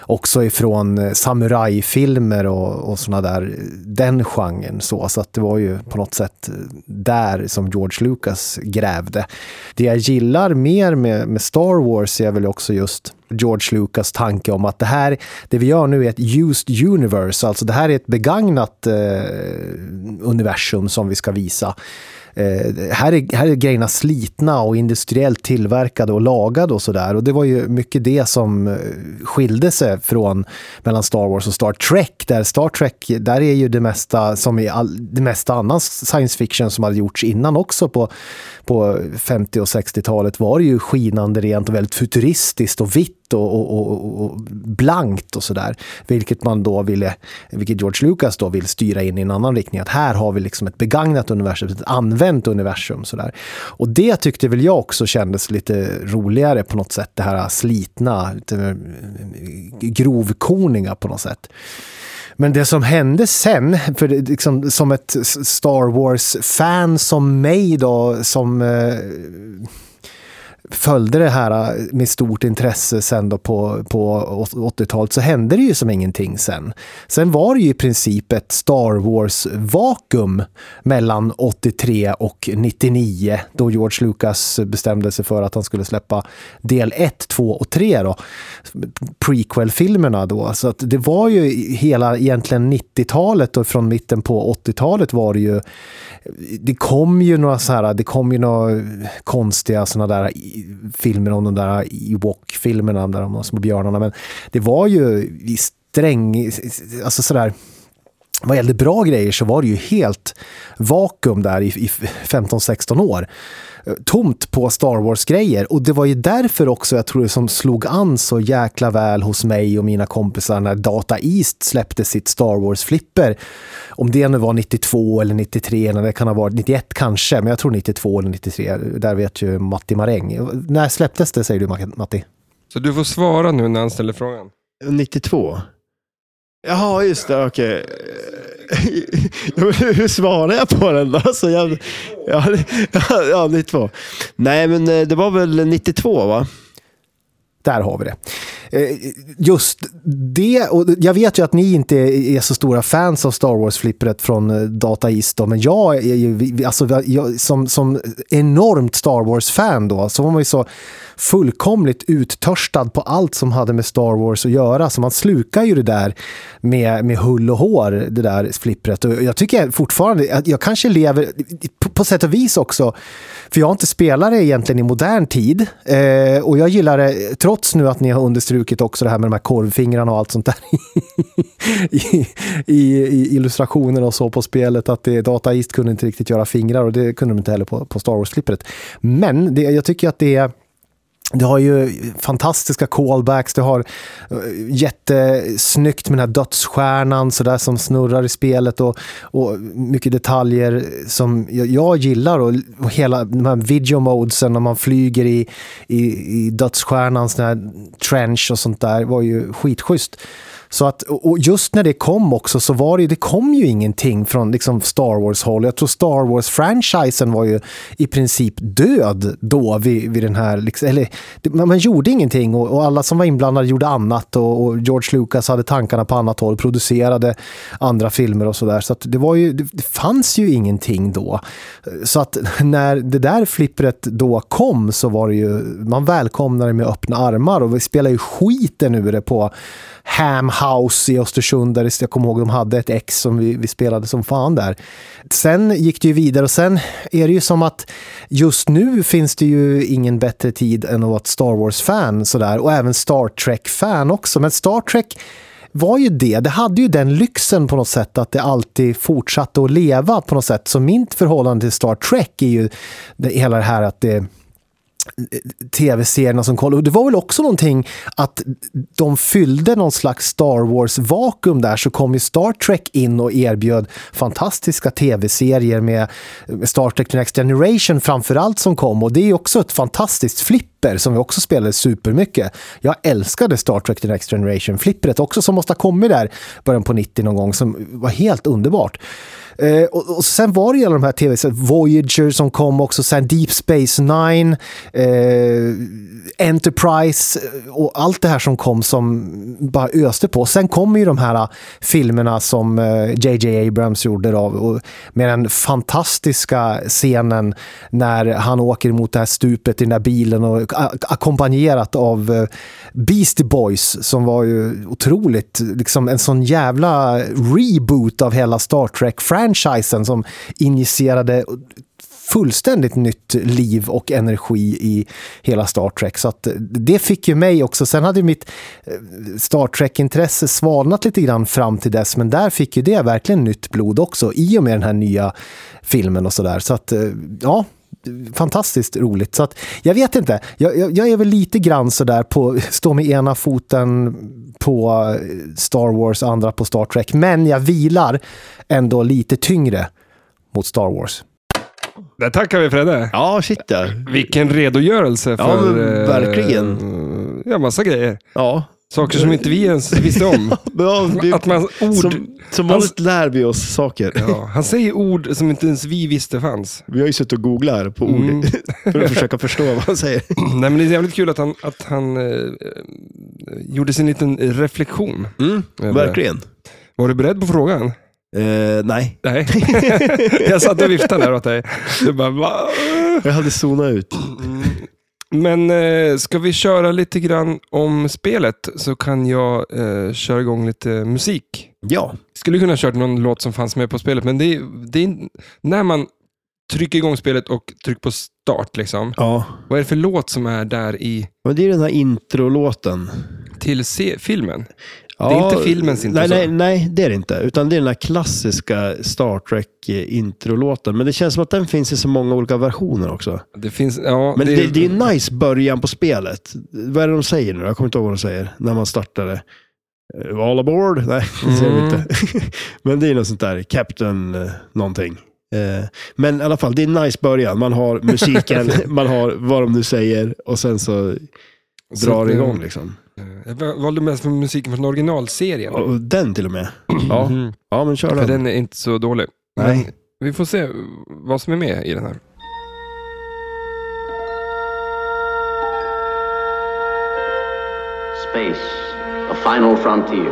S3: också ifrån eh, samurajfilmer och, och sådana där, den genren. Så, så att det var ju på något sätt eh, där som George Lucas grävde. Det jag gillar mer med, med Star Wars är väl också just George Lucas tanke om att det här, det vi gör nu är ett used universe, alltså det här är ett begagnat eh, universum som vi ska visa. Eh, här, är, här är grejerna slitna och industriellt tillverkade och lagade och sådär. Och det var ju mycket det som eh, skilde sig från mellan Star Wars och Star Trek. Där Star Trek, där är ju det mesta som i all, det mesta annan science fiction som hade gjorts innan också på, på 50 och 60-talet var det ju skinande rent och väldigt futuristiskt och vitt och, och, och, och blankt och sådär. Vilket man då ville, vilket George Lucas då vill styra in i en annan riktning. Att här har vi liksom ett begagnat universum, ett använt universum. Sådär. Och det tyckte väl jag också kändes lite roligare på något sätt. Det här slitna, lite eh, grovkorniga på något sätt. Men det som hände sen, för det, liksom, som ett Star Wars-fan som mig då, som eh, följde det här äh, med stort intresse sen då på, på 80-talet så hände det ju som ingenting sen. Sen var det ju i princip ett Star Wars-vakuum mellan 83 och 99 då George Lucas bestämde sig för att han skulle släppa del 1, 2 och 3 då. Prequel-filmerna då. Så att det var ju hela egentligen 90-talet och från mitten på 80-talet var det ju det kom ju några så här, det kom ju några konstiga sådana där i- filmer om de där Ewok-filmerna, där om de små björnarna, men det var ju i sträng, alltså sådär, vad gällde bra grejer så var det ju helt vakuum där i, i 15-16 år. Eh, Tomt på Star Wars-grejer. Och det var ju därför också jag tror det som slog an så jäkla väl hos mig och mina kompisar när Data East släppte sitt Star Wars-flipper. Om det nu var 92 eller 93, eller det kan ha varit 91 kanske, men jag tror 92 eller 93. Där vet ju Matti Maräng. När släpptes det säger du Matti?
S1: Så du får svara nu när han ställer frågan.
S2: 92? Jaha, just det. Okej. Ja, men Hur svarar jag på den då? Alltså, jag, ja, ja, 92. Nej, men eh, det var väl 92 va?
S3: Där har vi det. Eh, Just det, och jag vet ju att ni inte är så stora fans av Star Wars-flippret från eh, Data East, då, men jag är ju, vi- alltså, jag, som, som enormt Star Wars-fan då, så var man ju så fullkomligt uttörstad på allt som hade med Star Wars att göra, så Alltså, man slukar ju det där med, med hull och hår, det där flippret. Och jag tycker fortfarande, att jag kanske lever, på, på sätt och vis också, för jag har inte spelat det egentligen i modern tid. Eh, och jag gillar det, trots nu att ni har understrukit också det här med de här korvfingrarna och allt sånt där i, i, i illustrationerna och så på spelet, att det, Data East kunde inte riktigt göra fingrar och det kunde de inte heller på, på Star Wars-flippret. Men det, jag tycker att det är det har ju fantastiska callbacks, det har eh, jättesnyggt med den här dödsstjärnan så där som snurrar i spelet och, och mycket detaljer som jag, jag gillar och, och hela de här video modesen när man flyger i, i, i dödsstjärnans den här trench och sånt där var ju skitschysst. Så att, och just när det kom också så var det, ju- det kom ju ingenting från liksom Star Wars-håll. Jag tror Star Wars-franchisen var ju i princip död då vid, vid den här... Liksom, eller, det, man, man gjorde ingenting och, och alla som var inblandade gjorde annat och, och George Lucas hade tankarna på annat håll, producerade andra filmer och sådär. Så att det, var ju, det, det fanns ju ingenting då. Så att när det där flippret då kom så var det ju... Man välkomnade det med öppna armar och vi spelade ju skiten ur det på Ham House i Östersund. Där det- jag kommer ihåg de hade ett ex som vi, vi spelade som fan där. Sen gick det ju vidare och sen är det ju som att just nu finns det ju ingen bättre tid än att vara ett Star Wars-fan sådär och även Star Trek-fan också. Men Star Trek var ju det. Det hade ju den lyxen på något sätt att det alltid fortsatte att leva på något sätt. Så mitt förhållande till Star Trek är ju det, hela det här att det tv-serierna som kollade. Och det var väl också någonting att de fyllde någon slags Star Wars-vakuum där så kom ju Star Trek in och erbjöd fantastiska tv-serier med Star Trek The Next Generation framförallt som kom och det är ju också ett fantastiskt flipper som vi också spelade supermycket. Jag älskade Star Trek The Next Generation-flippret också som måste ha kommit där början på 90 någon gång som var helt underbart. Eh, och, och, sen var det ju alla de här tv Voyager som kom också, sen Deep Space Nine, eh, Enterprise eh, och allt det här som kom som bara öste på. Sen kom ju de här eh, filmerna som J.J. Eh, Abrams gjorde då, och, med den fantastiska scenen när han åker mot det här stupet i den där bilen och ackompanjerat av eh, Beastie Boys som var ju otroligt, liksom en sån jävla reboot av hela Star Trek-franchisen franchisen som injicerade fullständigt nytt liv och energi i hela Star Trek. Så eh, det fick ju mig också. Sen hade mitt Star Trek-intresse svalnat lite grann fram till dess, men där fick ju det verkligen nytt blod också i och med den här nya filmen och sådär. Så att, eh, ja, fantastiskt roligt. Så att, jag vet inte, jag, jag, jag är väl lite grann sådär på, stå med ena foten på eh, Star Wars, andra på Star Trek. Men jag vilar ändå lite tyngre mot Star Wars.
S1: Där tackar vi Fredde.
S2: Ja, shit ja.
S1: Vilken redogörelse
S2: Ja,
S1: för...
S2: men
S1: eh,
S2: verkligen.
S1: Ja, massa grejer.
S2: Ja.
S1: Saker som inte vi ens visste om.
S2: ja det,
S1: Att man ord...
S2: som, som vanligt lär vi oss saker.
S1: Ja, han säger ord som inte ens vi visste fanns.
S2: Vi har ju suttit och googlat här på ord
S1: Mm.
S2: för att försöka förstå vad han säger.
S1: Nej, men det är jävligt kul att han, att han eh, eh, gjorde sin liten reflektion. över det.
S2: Verkligen.
S1: Var du beredd på frågan?
S2: Eh, nej,
S1: Nej. jag satt och viftade där åt dig. Du bara, va? Mm.
S2: jag hade zonat ut.
S1: Men eh, ska vi köra lite grann om spelet så kan jag eh, köra igång lite musik.
S2: Ja,
S1: Skulle kunna ha kört någon låt som fanns med på spelet, men det är, det är när man trycker igång spelet och trycker på start. Liksom.
S2: ja.
S1: Vad är det för låt som är där i
S2: Men det är den här introlåten.
S1: till se, filmen?
S2: Ja,
S1: Det är inte filmens intro,
S2: Nej,
S1: så.
S2: nej, nej, det är det inte. Utan det är den här klassiska Star Trek-introlåten. Men det känns som att den finns i så många olika versioner också.
S1: Det finns, ja,
S2: Men det, det, är en nice början på spelet. Vad är det de säger nu? Jag kommer inte ihåg vad de säger när man startar det. Eh, All aboard? Nej, det säger de
S1: Mm.
S2: inte. Men det är något sånt där, Captain eh, någonting. Eh, Men i alla fall, det är en nice början. Man har musiken, man har vad de nu säger och sen så
S1: Så
S2: drar
S1: att,
S2: det
S1: eh,
S2: igång liksom.
S1: Jag valde mest för musiken från originalserien.
S2: Och den till och med. Ja,
S1: Mhm.
S2: ja men kör
S1: För
S2: den.
S1: den är inte så dålig.
S2: Nej.
S1: Men vi får se vad som är med i den här.
S4: Space, the final frontier.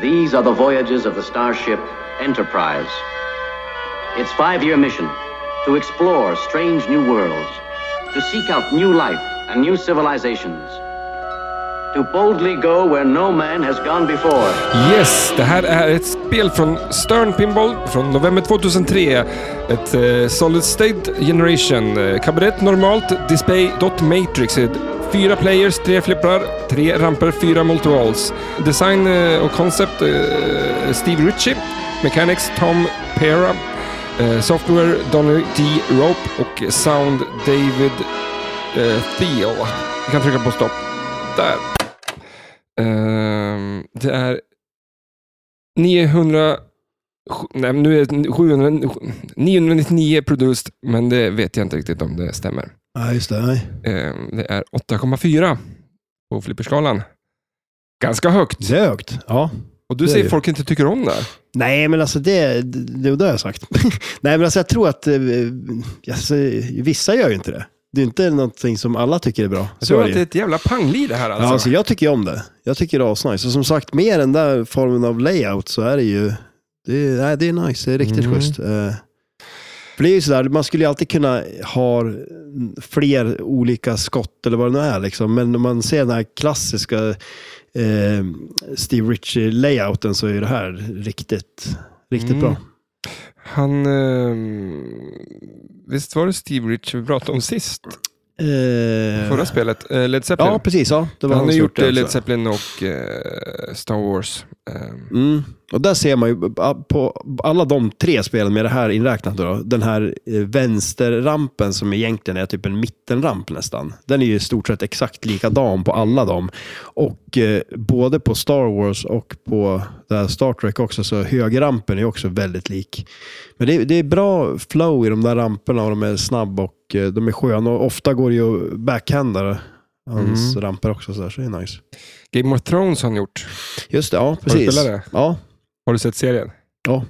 S4: These are the voyages of the starship Enterprise. Its five year mission to explore strange new worlds, to seek out new life and new civilizations, to boldly go where no man has gone before.
S1: Yes, det här är ett spel från Stern Pinball från november 2003. Ett eh, Solid State Generation. Eh, Kabarett normalt, display dot matrix. Eh, Fyra players, tre flipprar, tre ramper, fyra multivalls. Design eh, och concept eh, Steve Ritchie. Mechanics Tom Pera. Eh, software Donny D. Rope och sound David eh, Theo. Vi kan trycka på stopp. Där. Ehm, det är 900... Nej, men nu är det 700, 999 produced, men det vet jag inte riktigt om det stämmer.
S2: Ja, just det. Nej.
S1: Ehm, Det är 8,4 på flipperskalan. Ganska högt.
S2: Det är högt. Ja.
S1: Och du
S2: det är
S1: säger
S2: ju.
S1: folk inte tycker om det. här.
S2: Nej, men alltså det, det, det har jag sagt. Nej, men alltså jag tror att eh, alltså, vissa gör ju inte det. Det är inte någonting som alla tycker är bra.
S1: Jag tror
S2: är
S1: att det är
S2: ju.
S1: ett jävla pangli det här
S2: Ja,
S1: alltså.
S2: alltså, jag tycker ju om det. Jag tycker det är asnice. Och som sagt, med den där formen av layout så är det ju... Det är, nej, det är nice. Det är riktigt
S1: Mm.
S2: schysst. Eh, för det är ju sådär, man skulle ju alltid kunna ha fler olika skott eller vad det nu är. Liksom. Men om man ser den här klassiska eh, Steve Ritchie-layouten så är ju det här riktigt, riktigt
S1: Mm.
S2: bra.
S1: Han... ehm, Visst var det Steve Rich vi pratade om sist?
S2: Eh,
S1: Förra spelet, eh, Led Zeppelin.
S2: Ja, precis. Ja, det var
S1: han har
S2: hans
S1: gjort
S2: det
S1: eh, Led
S2: också.
S1: Zeppelin och eh, Star Wars. Eh,
S2: Mm. Och där ser man ju eh, på alla de tre spelen med det här inräknat då, den här eh, vänsterrampen som egentligen är typ en mittenramp nästan. Den är ju i stort sett exakt likadan på alla dem. Och eh, både på Star Wars och på det här Star Trek också så högerrampen är också väldigt lik. Men det, det är bra flow i de där ramperna och de är snabba och eh, de är sköna och ofta går det ju backhandare. Hans
S1: Mm.
S2: ramper också så, där, så det är nice.
S1: Game of Thrones har han gjort.
S2: Just det, ja
S1: Har du
S2: precis.
S1: spelat det?
S2: Ja,
S1: Har du sett serien?
S2: ja.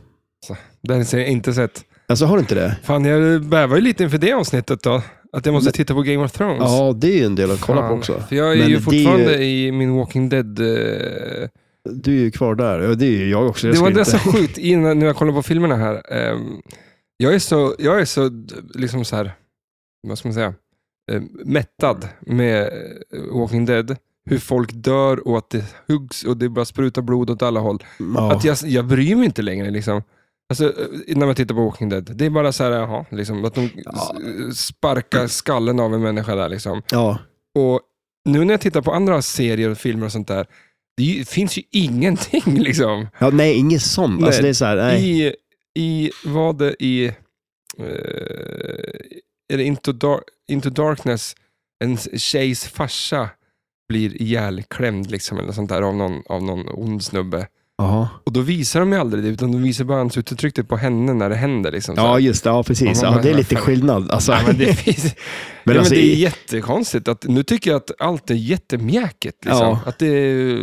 S1: Den ser jag inte sett.
S2: Alltså har du inte det?
S1: Fan, jag bävar ju lite inför det avsnittet då. Att jag måste titta på Game of Thrones.
S2: Ja, det är ju en del att kolla
S1: Fan.
S2: på också.
S1: För jag är
S2: Men det
S1: ju
S2: är
S1: fortfarande
S2: ju-
S1: i min Walking Dead... eh,
S2: Du är ju kvar där. Ja, det är ju jag också. Jag
S1: det
S2: ska
S1: var det
S2: inte-
S1: som sjukt innan, när jag kollar på filmerna här. Ehm, jag är så, jag är så, d- liksom så här, vad ska man säga, Ehm, mättad med eh, Walking Dead. Hur folk dör och att det huggs och det bara sprutar blod åt alla håll.
S2: ja.
S1: Att jag, jag bryr mig inte längre liksom. Alltså, eh, när man tittar på Walking Dead, det är bara så här, jaha, liksom, att de
S2: Ja.
S1: s- sparkar skallen av en människa där. Liksom.
S2: ja.
S1: Och nu när jag tittar på andra serier och filmer och sånt där, det är ju- finns ju ingenting liksom
S2: ja, nej, inget sånt.
S1: Nej.
S2: Alltså, det är så här, nej.
S1: i, i vad det i, eh, är det Into, Dar- Into Darkness, en tjejs farsa blir ihjälklämd liksom, eller sånt där, av, någon, av någon ond snubbe.
S2: Jaha.
S1: Och då visar de ju aldrig det, utan de visar bara ansiktsuttrycket på henne när det händer. Liksom, så här.
S2: Ja, just det. Ja, precis.
S1: Ja,
S2: Ja,
S1: men-
S2: det är lite skillnad. Alltså.
S1: Ja, men det, finns, men
S2: Men
S1: ja,
S2: alltså,
S1: men det är
S2: i-
S1: jättekonstigt. Att, nu tycker jag att allt är jättemjäkigt. Liksom.
S2: Ja.
S1: Att det är,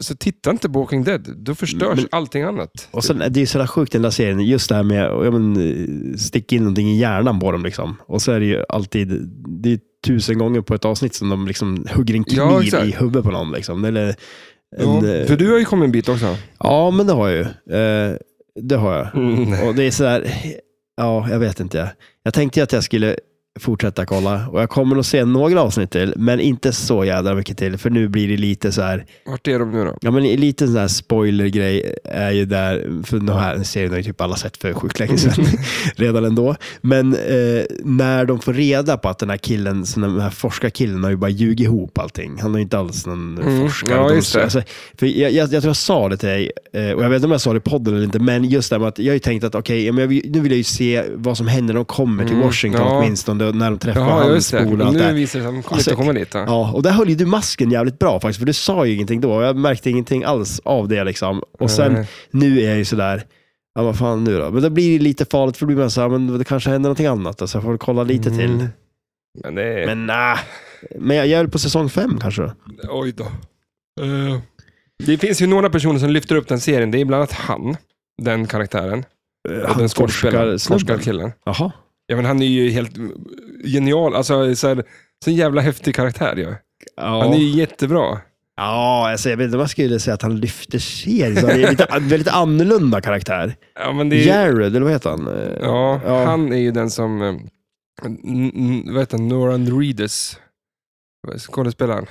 S1: så titta inte på Walking Dead, då förstörs
S2: Men-
S1: allting annat.
S2: Och sen, det är ju så där sjukt den där serien, just det här med ja, men, stick in någonting i hjärnan på dem. Liksom. Och så är det ju alltid, det är tusen gånger på ett avsnitt som de liksom hugger en kniv
S1: Ja, exakt.
S2: i huvudet på någon. Liksom. Eller
S1: Ja,
S2: en, eh,
S1: för du har ju kommit en bit också.
S2: ja, men det har jag ju. Eh, det har jag.
S1: Mm.
S2: Och det är sådär, ja, jag vet inte. Jag tänkte ju att jag skulle fortsätta kolla och jag kommer nog se några avsnitt till, men inte så jädra mycket till, för nu blir det lite så här,
S1: Vart är de nu då?
S2: ja men lite sån här spoilergrej är ju där, för den här serien har ju typ alla sett för sjukt länge
S1: Mm.
S2: sedan, redan ändå. Men eh, när de får reda på att den här killen, så den här forskarkillen har ju bara ljugit ihop allting. Han är ju inte alls någon
S1: Mm,
S2: forskare.
S1: ja,
S2: De-
S1: just det.
S2: Alltså, för jag, jag, jag tror jag sa det till dig, eh, och jag vet inte om jag sa det i podden eller inte, men just det här med att jag har ju tänkt att okej, ja, men jag vill- nu vill jag ju se vad som händer när de kommer till
S1: Mm,
S2: Washington
S1: ja. åtminstone,
S2: åtminstone, när de träffar
S1: Jaha,
S2: hans
S1: just det.
S2: spol och allt det
S1: Nu
S2: här.
S1: visar det sig att de kommer
S2: Alltså,
S1: inte komma dit. Då.
S2: Ja, och där höll ju du masken jävligt bra faktiskt, för du sa ju ingenting då. och Jag märkte ingenting alls av det liksom. Och sen,
S1: Nej.
S2: nu är jag ju sådär, ja vad fan nu då? Men då blir det lite farligt, för då blir man såhär, men det kanske händer någonting annat, då, så jag får kolla lite
S1: Mm.
S2: till.
S1: Men det är...
S2: Men nej. Men jag, jag är väl på säsong fem kanske. då.
S1: Oj då. Eh, det finns ju några personer som lyfter upp den serien. Det är bland annat han, den karaktären. Och den skådespelaren.
S2: forskar-
S1: Forskarkillen.
S2: Jaha.
S1: Ja, men han är ju helt eh, genial. Alltså, så här, så en jävla häftig karaktär ju.
S2: Ja.
S1: Han är ju jättebra.
S2: Ja, alltså, jag vet inte om jag skulle säga att han lyfter serien. så Han är lite, en väldigt annorlunda karaktär.
S1: Ja, men det är,
S2: Jared, eller vad heter han? Eh,
S1: ja,
S2: Ja.
S1: han är ju den som... eh, n- n- Vad heter han? Noran Reedus. Skådespelaren.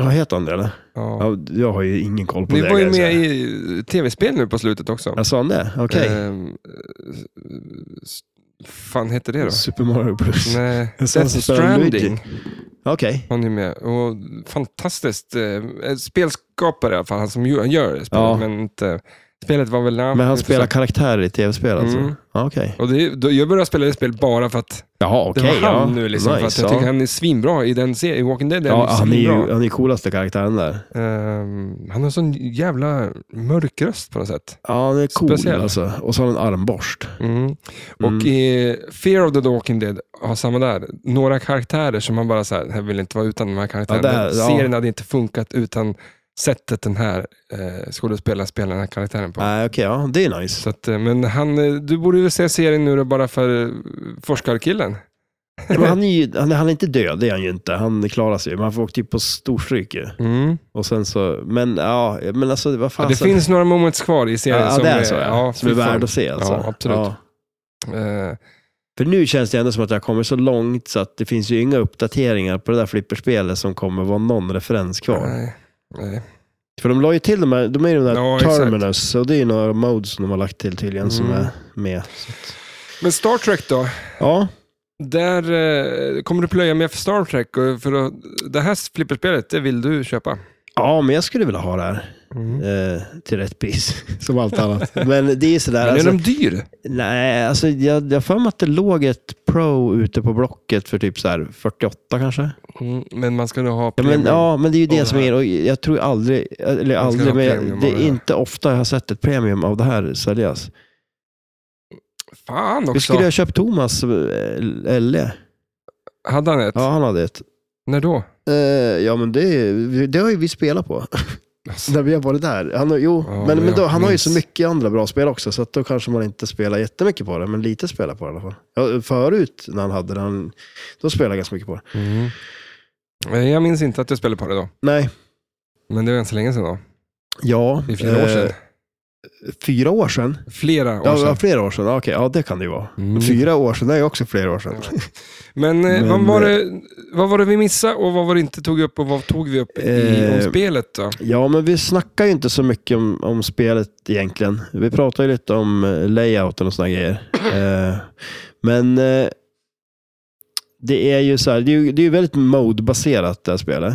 S2: Ja, heter han det eller?
S1: Ja.
S2: Ja, jag har ju ingen koll på
S1: Ni
S2: det.
S1: var ju
S2: kan jag
S1: med
S2: säga.
S1: i tv-spel nu på slutet också.
S2: Jag sa han det? Okej.
S1: Ehm, s- fan heter det då?
S2: Super Mario Bros.
S1: Nej,
S2: Jag sa
S1: Death
S2: så spelar Luigi.
S1: Stranding
S2: Okej.
S1: var ni med. Och fantastiskt. Eh, spelskapare i alla fall, han som ju- han gör spelet.
S2: Ja.
S1: Men inte, spelet var väl...
S2: Men han spelar karaktärer i tv-spel alltså?
S1: Mm.
S2: Ja, Okej.
S1: och det, då, jag började spela det spel bara för att
S2: Jaha, okej.
S1: det var han
S2: ja.
S1: nu. Liksom, för att
S2: Nice,
S1: jag
S2: ja.
S1: tycker han är liksom svinbra i den serien. I Walking Dead är
S2: Ja,
S1: han
S2: han är
S1: ju
S2: ju
S1: svinbra.
S2: han är ju coolaste karaktären där.
S1: Ehm, han har sån jävla mörk röst på något sätt.
S2: Ja, han är cool
S1: Speciell.
S2: alltså. Och så har han en armborst.
S1: Mm. Och i Fear of the Walking Dead har samma där. Några karaktärer som man bara så här, jag vill inte vara utan de här karaktärerna.
S2: Ja, där, ja.
S1: Serien hade inte funkat utan sättet den här eh, skådespelaren spelar den här karaktären på.
S2: Nej, okej. ja, det är nice.
S1: Så att, eh, men han, eh, du borde ju se serien nu då bara för eh, forskarkillen.
S2: Men han, är ju, han, är- han är inte död, det är han ju inte. Han klarar sig ju. Man får typ på storstryk ju.
S1: Mm.
S2: Och sen så, men ja, men alltså vad
S1: Ja,
S2: fan.
S1: det finns några moments kvar i serien
S2: ja,
S1: som
S2: det är så, ja. som är
S1: fy fan.
S2: värd att se alltså.
S1: Ja, absolut. Eh,
S2: För nu känns det ändå som att jag kommer så långt så att det finns ju inga uppdateringar på det där flipperspelet som kommer vara någon referens kvar.
S1: nej, nej.
S2: För de la ju till de här, de är ju de där
S1: Ja, exakt.
S2: terminus, och det är ju några modes som de har lagt till tydligen som
S1: Mm.
S2: är med. Så att,
S1: Men Star Trek då?
S2: ja,
S1: Där eh, kommer du plöja med för Star Trek. och För att, det här flipperspelet, det vill du köpa.
S2: Ja, men jag skulle vilja ha det här.
S1: Mm.
S2: Eh, till rätt pris, som allt annat. Men det är sådär.
S1: Men är
S2: alltså,
S1: de dyr?
S2: Nej, alltså jag jag har för mig att det låg ett Pro ute på Blocket för typ så här 48 kanske.
S1: Mm, men man ska nog ha
S2: Ja men,
S1: premium.
S2: ja, men det är ju
S1: Och det
S2: det som
S1: här.
S2: är och Jag tror aldrig, eller
S1: ha
S2: aldrig, men
S1: premium
S2: jag, det
S1: av det här.
S2: är inte ofta jag har sett ett premium av det här säljas.
S1: Fan
S2: Vi
S1: också.
S2: skulle ha köpt Thomas eh, Elle.
S1: Hade han ett?
S2: Ja, han hade ett.
S1: När då?
S2: Eh, ja, men det, det har ju vi spelat på.
S1: Alltså,
S2: När vi har varit där. Han, har- jo,
S1: Ja, men
S2: men, men då,
S1: jag
S2: han har ju så
S1: minns.
S2: mycket andra bra spel också, så att då kanske man inte spelar jättemycket på det, men lite spelar på det i alla fall. Ja, förut när han hade den, då spelade jag ganska mycket på det.
S1: mm. Eh, Jag minns inte att jag spelade på det då.
S2: Nej,
S1: Men det var ganska länge sedan då.
S2: ja.
S1: Det är flera år sedan.
S2: Fyra år sedan?
S1: Flera år
S2: Eh, Ja,
S1: sedan.
S2: ja, flera år sedan. Ja, Okej, ja det kan det ju vara.
S1: Mm.
S2: Fyra år sedan är ju också flera år sedan.
S1: Men, eh,
S2: Men,
S1: vad, var det, vad var det vi missade och vad var det inte tog upp och vad tog vi upp i
S2: Eh,
S1: om spelet då?
S2: Ja, men vi snackar ju inte så mycket om, om spelet egentligen. Vi pratar ju lite om eh, layouten och sådana grejer. Eh, men eh, det är ju så här, det är ju, det är ju väldigt mode-baserat det här spelet.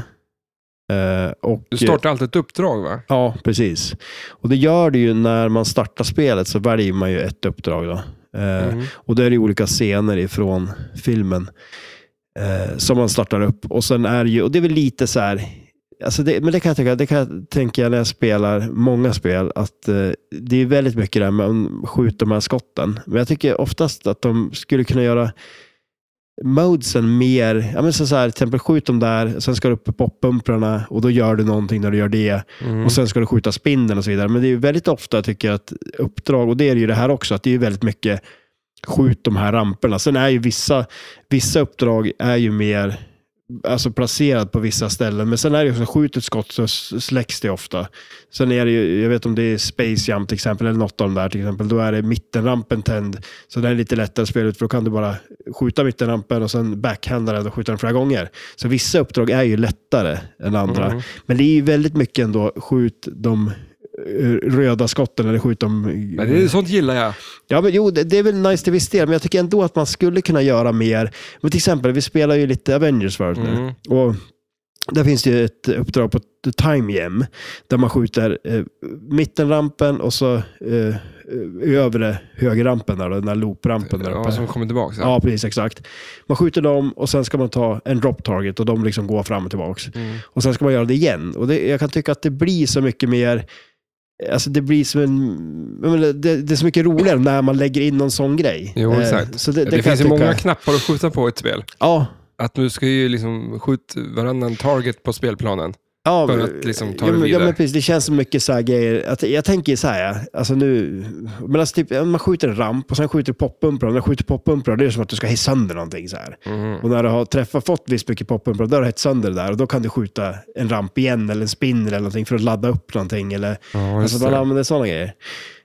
S2: Eh, och,
S1: Du startar alltid ett uppdrag va?
S2: Ja, precis. Och det gör det ju när man startar spelet så väljer man ju ett uppdrag då. Eh,
S1: Mm.
S2: och då är det ju olika scener ifrån filmen eh, som man startar upp. Och sen är det ju, och det är väl lite så här, alltså det, men det kan jag tänka, det kan jag tänka när jag spelar många spel, att eh, det är väldigt mycket det här med att skjuta de här skotten. Men jag tycker oftast att de skulle kunna göra modesen mer, ja men så så här, till exempel skjut dem där, sen ska du upp på poppumprarna och då gör du någonting när du gör det.
S1: Mm.
S2: Och sen ska du skjuta spindeln och så vidare. Men det är ju väldigt ofta jag tycker att uppdrag, och det är ju det här också, att det är ju väldigt mycket skjut de här ramperna. Sen är ju vissa, vissa uppdrag är ju mer alltså placerat på vissa ställen. Men sen är det ju också, skjut ett skott så s- släcks det ofta. Sen är det ju, jag vet om det är Space Jump till exempel, eller något av de där till exempel, då är det mittenrampen tänd. Så den är lite lättare att spela ut, för då kan du bara skjuta mittenrampen och sen backhanda den och skjuta den flera gånger. Så vissa uppdrag är ju lättare än andra.
S1: Mm.
S2: Men det är ju väldigt mycket ändå, skjut de eh, röda skotten eller skjut de...
S1: Men det, är- sånt gillar jag.
S2: Ja, men jo, det, det är väl nice till viss del, men jag tycker ändå att man skulle kunna göra mer. Men till exempel, vi spelar ju lite Avengers förut nu.
S1: Mm.
S2: Och där finns det ju ett uppdrag på Time Gem där man skjuter eh, mittenrampen och så eh, övre högerrampen, där, då, den där looprampen. Där
S1: Ja,
S2: uppe.
S1: som kommer tillbaka. så.
S2: Ja, precis. Exakt. Man skjuter dem och sen ska man ta en drop target och de liksom går fram och tillbaka.
S1: Mm.
S2: Och sen ska man göra det igen. Och det, jag kan tycka att det blir så mycket mer, alltså det blir som en, jag menar, det, det är så mycket roligare när man lägger in någon sån grej.
S1: Jo,
S2: Eh,
S1: exakt.
S2: Så det,
S1: Det,
S2: det, kan
S1: finns ju
S2: jag tycka,
S1: många knappar att skjuta på i ett spel.
S2: Ja,
S1: Att nu ska ju liksom skjuta varannan target på spelplanen.
S2: Ja,
S1: För
S2: men-
S1: att liksom ta
S2: ja,
S1: det
S2: men, ja,
S1: vidare.
S2: men precis. Det känns så mycket så här grejer. Att jag tänker så här, ja. alltså nu, men alltså typ, man skjuter en ramp och sen skjuter poppumprar. När du skjuter poppumprar, det är som att du ska hissa sönder någonting så här.
S1: Mm.
S2: Och när du har träffat, fått visst mycket poppumprar, då har du hett sönder det där. Och då kan du skjuta en ramp igen eller en spinner eller någonting för att ladda upp någonting. Eller,
S1: Ja, just
S2: alltså man
S1: det.
S2: använder sådana grejer.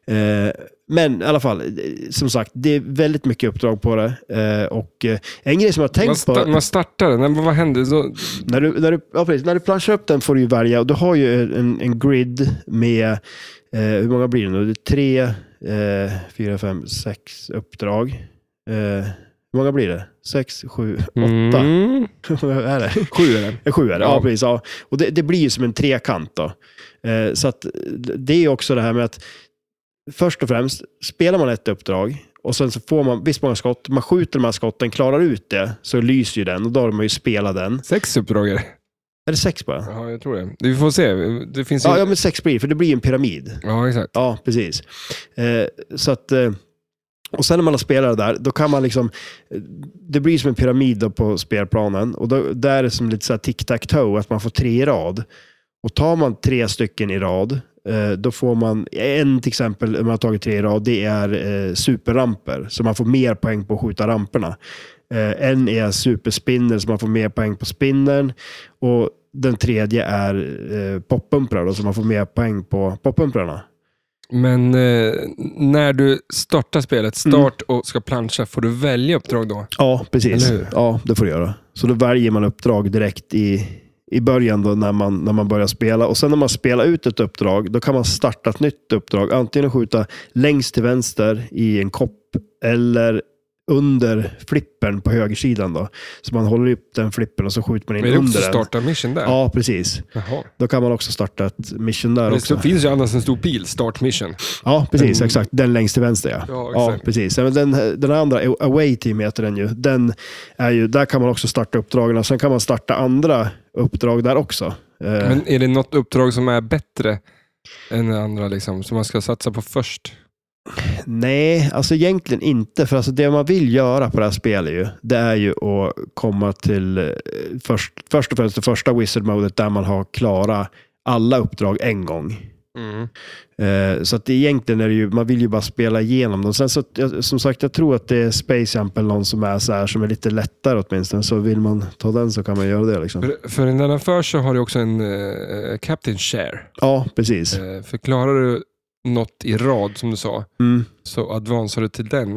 S2: Eh, men i alla fall, eh, som sagt, det är väldigt mycket uppdrag på det. Eh, och eh, en grej som jag
S1: Man,
S2: har tänkt på...
S1: sta- man startar den, men vad händer? Så,
S2: När du, när, du, ja, precis, när du planchar upp den får du ju välja. Och du har ju en, en grid med, eh, hur många blir det nu? Det är tre, eh, fyra, fem, sex uppdrag. Eh, hur många blir det? Sex, sju, åtta.
S1: Mm.
S2: Hur många är det?
S1: Sju är det.
S2: Eh, Sju är det,
S1: Ja.
S2: ja, precis. Ja. Och det, det blir ju som en trekant då. Eh, så att det är också det här med att först och främst spelar man ett uppdrag och sen så får man visst många skott. Man skjuter de här skotten, klarar ut det, så lyser ju den och då har man ju spelat den.
S1: Sex uppdrag är det.
S2: Är det sex bara?
S1: Ja, jag tror det. Vi får se. Det finns ju...
S2: Ja, ja, men sex blir för det blir ju en pyramid.
S1: ja, exakt.
S2: Ja, precis. Eh, så att, eh, och sen när man har spelat det där, då kan man liksom... eh, Det blir som en pyramid då på spelplanen. Och då, där är det som lite så här tic-tac-toe, att man får tre i rad. Och tar man tre stycken i rad, eh, då får man en till exempel, om man har tagit tre i rad, det är eh, superramper. Så man får mer poäng på att skjuta ramperna. Eh, en är superspinner, så man får mer poäng på spinnern. Och den tredje är eh, poppumprar, då, så man får mer poäng på poppumprarna.
S1: Men eh, när du startar spelet,
S2: Mm.
S1: start och ska plancha, får du välja uppdrag då?
S2: Ja, precis.
S1: Eller hur?
S2: Ja, det får du göra. Så då väljer man uppdrag direkt i, i början då när, man, när man börjar spela. Och sen när man spelar ut ett uppdrag, då kan man starta ett nytt uppdrag. Antingen skjuta längst till vänster i en kopp eller under flippen på högersidan. Då. Så man håller upp den flippen och så skjuter man in
S1: Men det är också
S2: under den.
S1: starta mission där.
S2: Ja, precis.
S1: Jaha.
S2: Då kan man också starta ett mission där
S1: Men
S2: också.
S1: det finns ju annars en stor pil, start mission.
S2: Ja, precis. Exakt. Den längst till vänster, ja.
S1: Mm. Ja,
S2: ja
S1: exakt.
S2: precis. Ja, men Den, den andra, Away Team heter den ju. Den är ju. Där kan man också starta uppdragen. och Sen kan man starta andra uppdrag där också. Eh,
S1: Men är det något uppdrag som är bättre än det andra, liksom, som man ska satsa på först?
S2: Nej, alltså egentligen inte. För alltså det man vill göra på det här spelet ju, det är ju att komma till eh, först, först och främst det första Wizard Modet där man har klara alla uppdrag en gång. Eh, Så att egentligen är det ju, man vill ju bara spela igenom dem. Sen så, jag- som sagt, jag tror att det är Space Jump eller någon som är så här som är lite lättare åtminstone. Så vill man ta den så kan man göra det. Liksom.
S1: För, för när den förs så har du också en eh, captain share.
S2: Ja, precis.
S1: Eh, förklarar du något i rad, som du sa,
S2: Mm.
S1: så advansar du till den.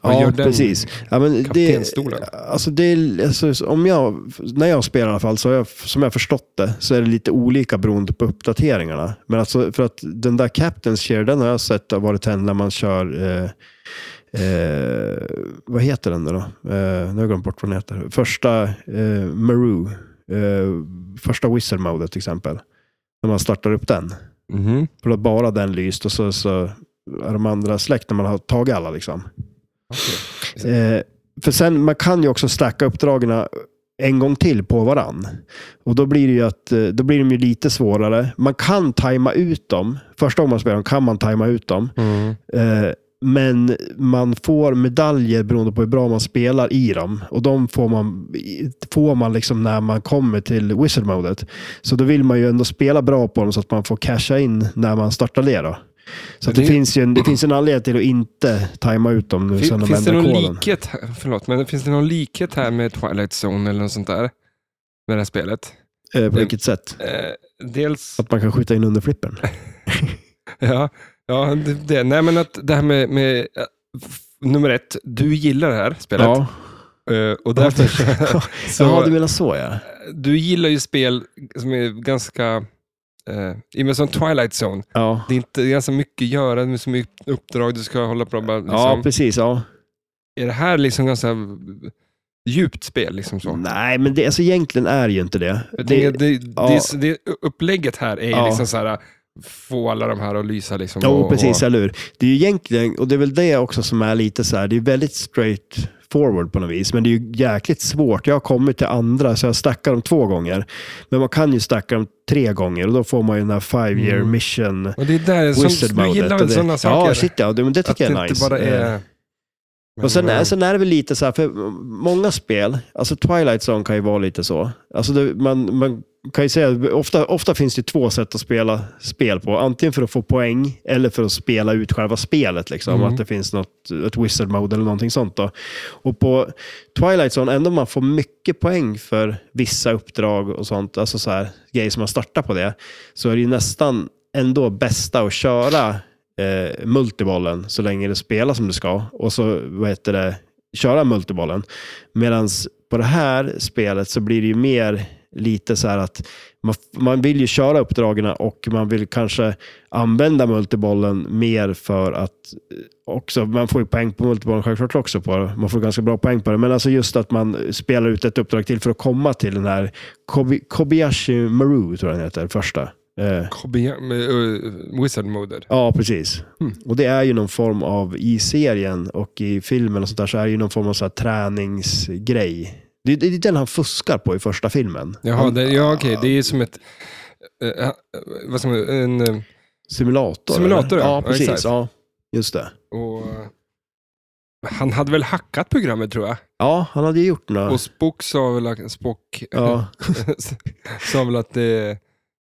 S1: Vad
S2: Ja,
S1: gör den?
S2: precis. Ja, men det,
S1: kaptensstolen?
S2: alltså det, är- alltså, om jag, när jag spelar i alla fall, så har jag, som jag har förstått det, så är det lite olika beroende på uppdateringarna. Men alltså, för att den där Captain's Share, den har jag sett har varit tänd när man kör, eh, eh, vad heter den då? Eh, nu har jag glömt bort vad den heter. Första eh, Maru, eh, första Wizard Mode till exempel. När man startar upp den.
S1: Mhm.
S2: För då har bara den lyst och så, så är de andra släkt när man har tagit alla liksom. Eh, för sen, man kan ju också stacka uppdragen en gång till på varann. Och då blir, det ju att, eh, då blir de ju lite svårare. Man kan tajma ut dem. Första gången man spelar dem kan man tajma ut dem.
S1: Mm.
S2: Eh, men man får medaljer beroende på hur bra man spelar i dem. Och de får man, får man liksom när man kommer till wizard modet. Så då vill man ju ändå spela bra på dem så att man får casha in när man startar det. Då. Så att det,
S1: Det-
S2: finns ju en, det finns en anledning till att inte tajma ut dem nu sen
S1: Fin,
S2: de
S1: finns det
S2: ändrar
S1: någon
S2: koden.
S1: likhet här, förlåt, men finns det någon likhet här med Twilight Zone eller något sånt där? Med det här spelet?
S2: Eh, på vilket sätt?
S1: Eh, dels...
S2: Att man kan skjuta in under flippen.
S1: Ja, ja det, det. Nej, men att det här med, med eh, f- nummer ett, du gillar det här spelet.
S2: Ja.
S1: Eh, och därför, så,
S2: Jaha, du menar så ja.
S1: du gillar ju spel som är ganska... Eh, i och med som Twilight Zone,
S2: Ja,
S1: det är, inte, det är ganska mycket att göra, det är så mycket uppdrag du ska hålla på med. Liksom.
S2: ja precis. Ja.
S1: är det här liksom ganska djupt spel? Liksom så?
S2: Nej, men det, alltså, egentligen är ju inte det.
S1: Jag
S2: det
S1: tänker att det, det,
S2: ja.
S1: det, upplägget här är
S2: Ja.
S1: liksom så här, få alla de här att lysa. Liksom,
S2: Jo,
S1: och,
S2: precis,
S1: Och,
S2: eller hur. Det är ju egentligen, och det är väl det också som är lite så här, det är väldigt straight forward på något vis, men det är ju jäkligt svårt. Jag har kommit till andra, så jag stackar dem två gånger. Men man kan ju stacka dem tre gånger och då får man ju den här five year
S1: Mm.
S2: mission.
S1: och det är där,
S2: Wizard
S1: som, du
S2: modet
S1: gillar
S2: och
S1: väl
S2: det-
S1: sådana saker?
S2: Ja, shit ja. Det, men det
S1: att
S2: tycker jag
S1: det
S2: är
S1: inte
S2: nice.
S1: bara
S2: Eh,
S1: är...
S2: och sen,
S1: Men-
S2: är- sen är det väl lite så här, för många spel, alltså Twilight Zone kan ju vara lite så. Alltså det, man, man kan ju säga, ofta, ofta finns det två sätt att spela spel på. Antingen för att få poäng eller för att spela ut själva spelet. Liksom,
S1: Mm.
S2: Att det finns något, ett wizard mode eller någonting sånt. Då. Och på Twilight Zone, ändå man får mycket poäng för vissa uppdrag och sånt, alltså så här, grejer som man startar på det, så är det ju nästan ändå bästa att köra eh, multibollen så länge det spelar som det ska. Och så, vad heter det, köra multibollen. Medan på det här spelet så blir det ju mer lite så här att man, man vill ju köra uppdragen och man vill kanske använda multibollen mer för att eh, också, man får ju poäng på multibollen självklart också på det. Man får ganska bra poäng på det. Men alltså just att man spelar ut ett uppdrag till för att komma till den här Kobi, Kobayashi Maru, tror jag den heter, första. Eh,
S1: Kobe- med, eh, Wizard Moder.
S2: Ja, precis.
S1: Mm.
S2: Och det är ju någon form av, i serien och i filmen och sånt där, så är det ju någon form av så här träningsgrej. Det, det, det är den han fuskar på i första filmen.
S1: Jaha,
S2: Han-
S1: det, ja, okej. Det är som ett... eh, eh, vad som, en, eh,
S2: Simulator.
S1: Simulator,
S2: eller?
S1: ja.
S2: ja.
S1: Ja,
S2: precis.
S1: exakt.
S2: Ja, just det.
S1: och, han hade väl hackat programmet tror jag.
S2: Ja, han hade ju gjort några...
S1: Och Spock sa väl, att- Spock
S2: Ja,
S1: sa väl att, det,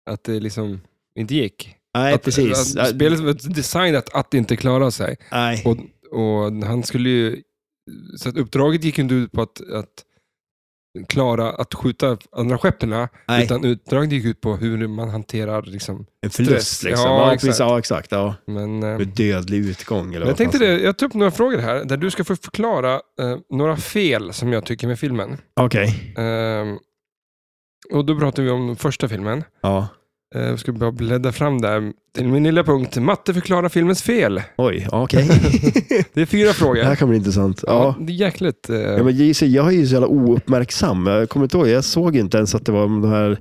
S1: att det liksom inte gick.
S2: nej,
S1: att,
S2: precis.
S1: Att, spelet var designat att inte klara sig.
S2: nej.
S1: Och, och han skulle ju, så att uppdraget gick inte ut på att, att klara att skjuta andra skeppen,
S2: Nej.
S1: utan uppdraget gick ut på hur man hanterar liksom,
S2: en förlust
S1: stress.
S2: liksom.
S1: Ja,
S2: Ja,
S1: exakt.
S2: preist, ja exakt. Ja.
S1: men... eh,
S2: Med dödlig utgång. Eller
S1: jag
S2: vad
S1: tänkte
S2: fan.
S1: det, jag tar upp några frågor här, där du ska få förklara eh, några fel som jag tycker med filmen.
S2: Okej.
S1: Ehm, och då pratar vi om den första filmen.
S2: Ja.
S1: Eh, Jag ska bara bläddra fram där. Till min lilla punkt, matte förklarar filmens fel.
S2: Oj, ja, okej.
S1: Det är fyra frågor.
S2: det här kan bli intressant. Ja.
S1: Det är jäkligt. eh,
S2: Ja, men JC, jag är ju så jävla ouppmärksam. Jag kommer inte ihåg, jag såg inte ens att det var de här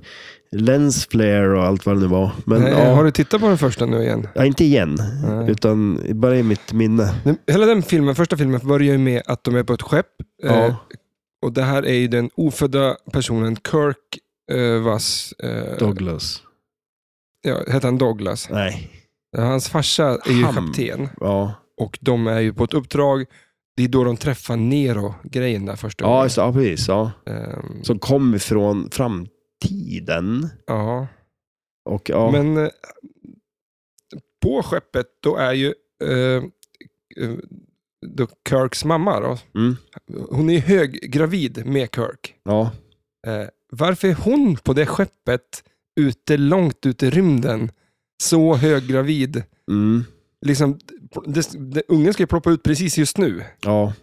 S2: lens flare och allt vad det nu var. Men,
S1: eh,
S2: ja,
S1: Har du tittat på den första nu igen?
S2: ja, inte igen,
S1: Nej.
S2: utan bara i mitt minne.
S1: Den, hela den filmen, första filmen börjar ju med att de är på ett skepp. Eh,
S2: Ja.
S1: och det här är ju den ofödda personen Kirk eh, vars... Eh,
S2: Douglas.
S1: ja, heter han Douglas? Eh,
S2: Nej.
S1: Hans farsa är ju
S2: Ham.
S1: kapten
S2: Ja,
S1: och de är ju på ett uppdrag. Det är då de träffar Nero-grejen där första
S2: ja, just, det, ja precis. Ja.
S1: Ehm,
S2: Som kom ifrån framtiden.
S1: ja.
S2: Och, ja.
S1: Men eh, på skeppet då är ju eh, eh, då Kirks mamma, då,
S2: Mm.
S1: hon är höggravid med Kirk.
S2: ja.
S1: Eh, varför är hon på det skeppet ute långt ute i rymden? Så höggravid.
S2: Mm.
S1: Liksom, det, det, ungen ska ju ploppa ut precis just nu.
S2: ja.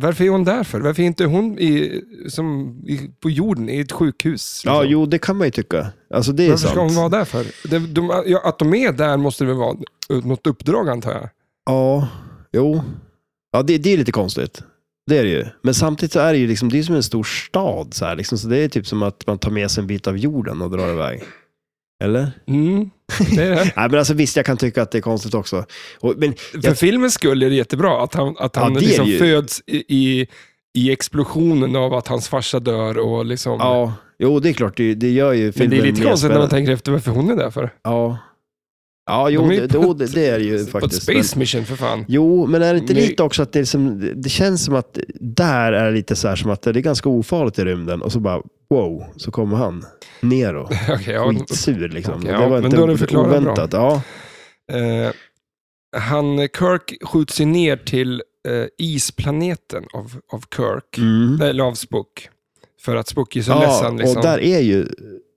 S1: Varför är hon där för? Varför är inte hon i, som i, på jorden i ett sjukhus?
S2: Ja,
S1: liksom?
S2: jo, det kan man ju tycka. Alltså det är
S1: Varför ska
S2: sant.
S1: hon vara där för? De, de, ja, att de är där måste det väl vara något uppdrag antar jag.
S2: Ja, jo. Ja, det, det är lite konstigt. Det är det ju. Men samtidigt så är det ju liksom, det är som en stor stad. Så, här, liksom, så det är typ som att man tar med sig en bit av jorden och drar iväg. Eller?
S1: Mm. Det är det.
S2: Nej, men alltså visst, jag kan tycka att det är konstigt också. Och, men
S1: För filmens skull är det jättebra att han, att han
S2: det är
S1: liksom
S2: det ju.
S1: föds i, i, i explosionen av att hans farsa dör. Och liksom,
S2: ja, jo, det är klart, det, det gör ju
S1: men
S2: filmen
S1: det är lite
S2: mer
S1: konstigt när man
S2: spännande.
S1: tänker efter varför hon är där för.
S2: Ja, ja jo,
S1: De är ju
S2: det,
S1: på
S2: jo, det, det är det ju
S1: På ett
S2: faktiskt. Men-
S1: space mission för fan.
S2: Jo, men är det inte
S1: Men-
S2: lite också att det, är som, det känns som att där är det lite så här som att det är ganska ofarligt i rymden och så bara wow, så kommer han ner och
S1: Okej, ja,
S2: skitsur liksom.
S1: Okej,
S2: det
S1: ja,
S2: var
S1: men
S2: inte
S1: då har du förklarat bra.
S2: oväntat. Ja,
S1: eh, han, Kirk skjuts ju ner till eh, isplaneten av, av Kirk.
S2: mm.
S1: Eller av Spock. För att Spock är så
S2: ja
S1: ledsen. Liksom,
S2: och där är ju,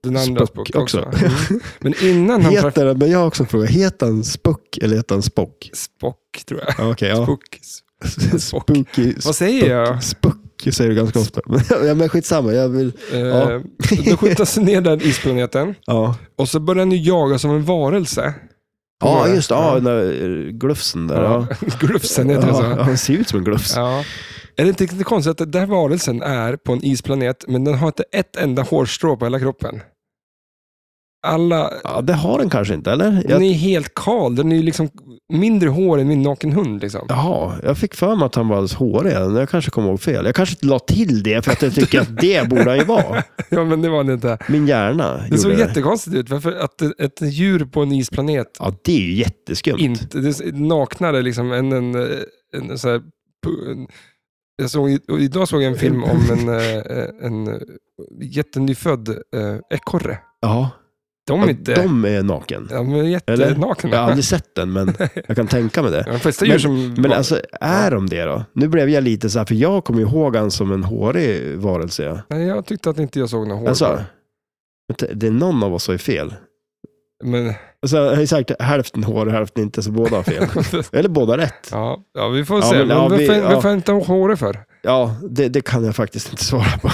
S1: den andra Spock,
S2: Spock
S1: också.
S2: också.
S1: Mm. Men innan han träffar
S2: heter den, men jag har också en fråga, heter han Spuck eller heter han Spock?
S1: Spock, tror jag.
S2: Ja, Okej, ja.
S1: Spock. Spock.
S2: Spooky,
S1: Vad säger jag?
S2: Spuck säger du ganska ofta. ja, men skitsamma, jag vill...
S1: Eh, då skjuts han ner den isplaneten.
S2: Ja,
S1: Och så börjar han ju jaga som en varelse.
S2: ja
S1: det?
S2: just det, ja, den där eh, glufsen där. Ja.
S1: Glufsen heter det
S2: Ja,
S1: så.
S2: han ser ut som en glufs.
S1: Ja. Är det inte lite konstigt att den här varelsen är på en isplanet, men den har inte ett enda hårstrå på hela kroppen? Alla...
S2: Ja, det har den kanske inte, eller?
S1: Den
S2: Jag,
S1: är helt kal. Den är ju liksom mindre hår än min naken hund. Liksom.
S2: Jaha, jag fick för mig att han var alldeles hårig. Jag kanske kom ihåg fel. Jag kanske inte la till det för att jag tycker att det borde han ju vara.
S1: Ja, men det var det inte.
S2: Min hjärna
S1: Det såg
S2: gjorde det.
S1: jättekonstigt ut. Varför att ett- ett djur på en isplanet
S2: Ja, det är ju jätteskumt.
S1: inte, det är naknare liksom än en, eh, en, så här, pu- en jag såg, i- och idag såg jag en film om en, eh, en eh, jättenyfödd eh, ekorre.
S2: Ja,
S1: De är
S2: ja,
S1: inte...
S2: de är naken.
S1: Ja, de är
S2: Eller?
S1: jättenakna.
S2: Jag har aldrig sett den, men jag kan tänka mig det.
S1: Ja, de flesta djur som...
S2: Men alltså, är de det då? Nu blev jag lite så här, för jag kommer ihåg han som en hårig varelse. ja.
S1: Nej, jag tyckte att inte jag såg några hår.
S2: Alltså, det är någon av oss som är fel.
S1: Men,
S2: Alltså, jag har ju sagt hälften hårig, hälften inte, så båda har fel. Eller båda rätt.
S1: ja, ja, vi får
S2: Ja,
S1: se.
S2: men,
S1: men,
S2: ja,
S1: varför,
S2: vi- ja.
S1: varför inte ha hår för?
S2: Ja, det, det kan jag faktiskt inte svara på.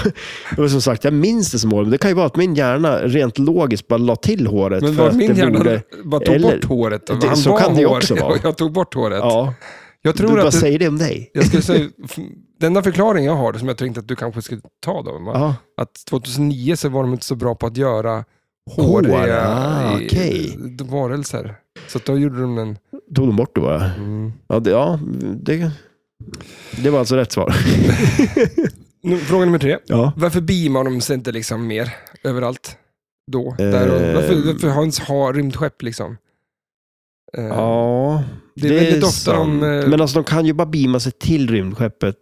S2: Och som sagt, jag minns det som hår, men det kan ju vara att min hjärna rent logiskt bara la till håret.
S1: Men
S2: för
S1: var
S2: att
S1: min
S2: det
S1: hjärna
S2: borde...
S1: bara tog
S2: eller-
S1: bort håret.
S2: Det-
S1: Han
S2: så
S1: var
S2: kan det ju
S1: hårig
S2: också vara.
S1: och Jag tog bort håret.
S2: Ja,
S1: Jag
S2: du
S1: tror
S2: bara
S1: att... Det,
S2: säger det om dig.
S1: jag skulle säga, den enda förklaringen jag har, som jag tänkte att du kanske skulle ta då, va?
S2: Ja,
S1: att 2009 så var de inte så bra på att göra
S2: Hår,
S1: håriga
S2: ah,
S1: i-
S2: okej.
S1: varelser. Så att då gjorde de den...
S2: tog de bort det bara.
S1: Mm.
S2: Ja, det, ja, det, det var alltså rätt svar.
S1: Nu, fråga nummer tre.
S2: Ja.
S1: Varför beamar de sig inte liksom mer överallt? Då? Där och, varför,
S2: Ehm.
S1: varför har ens ha rymdskepp liksom? Eh,
S2: Ja,
S1: Det är väldigt ofta de,
S2: sant.
S1: eh,
S2: Men alltså de kan ju bara beama sig till rymdskeppet.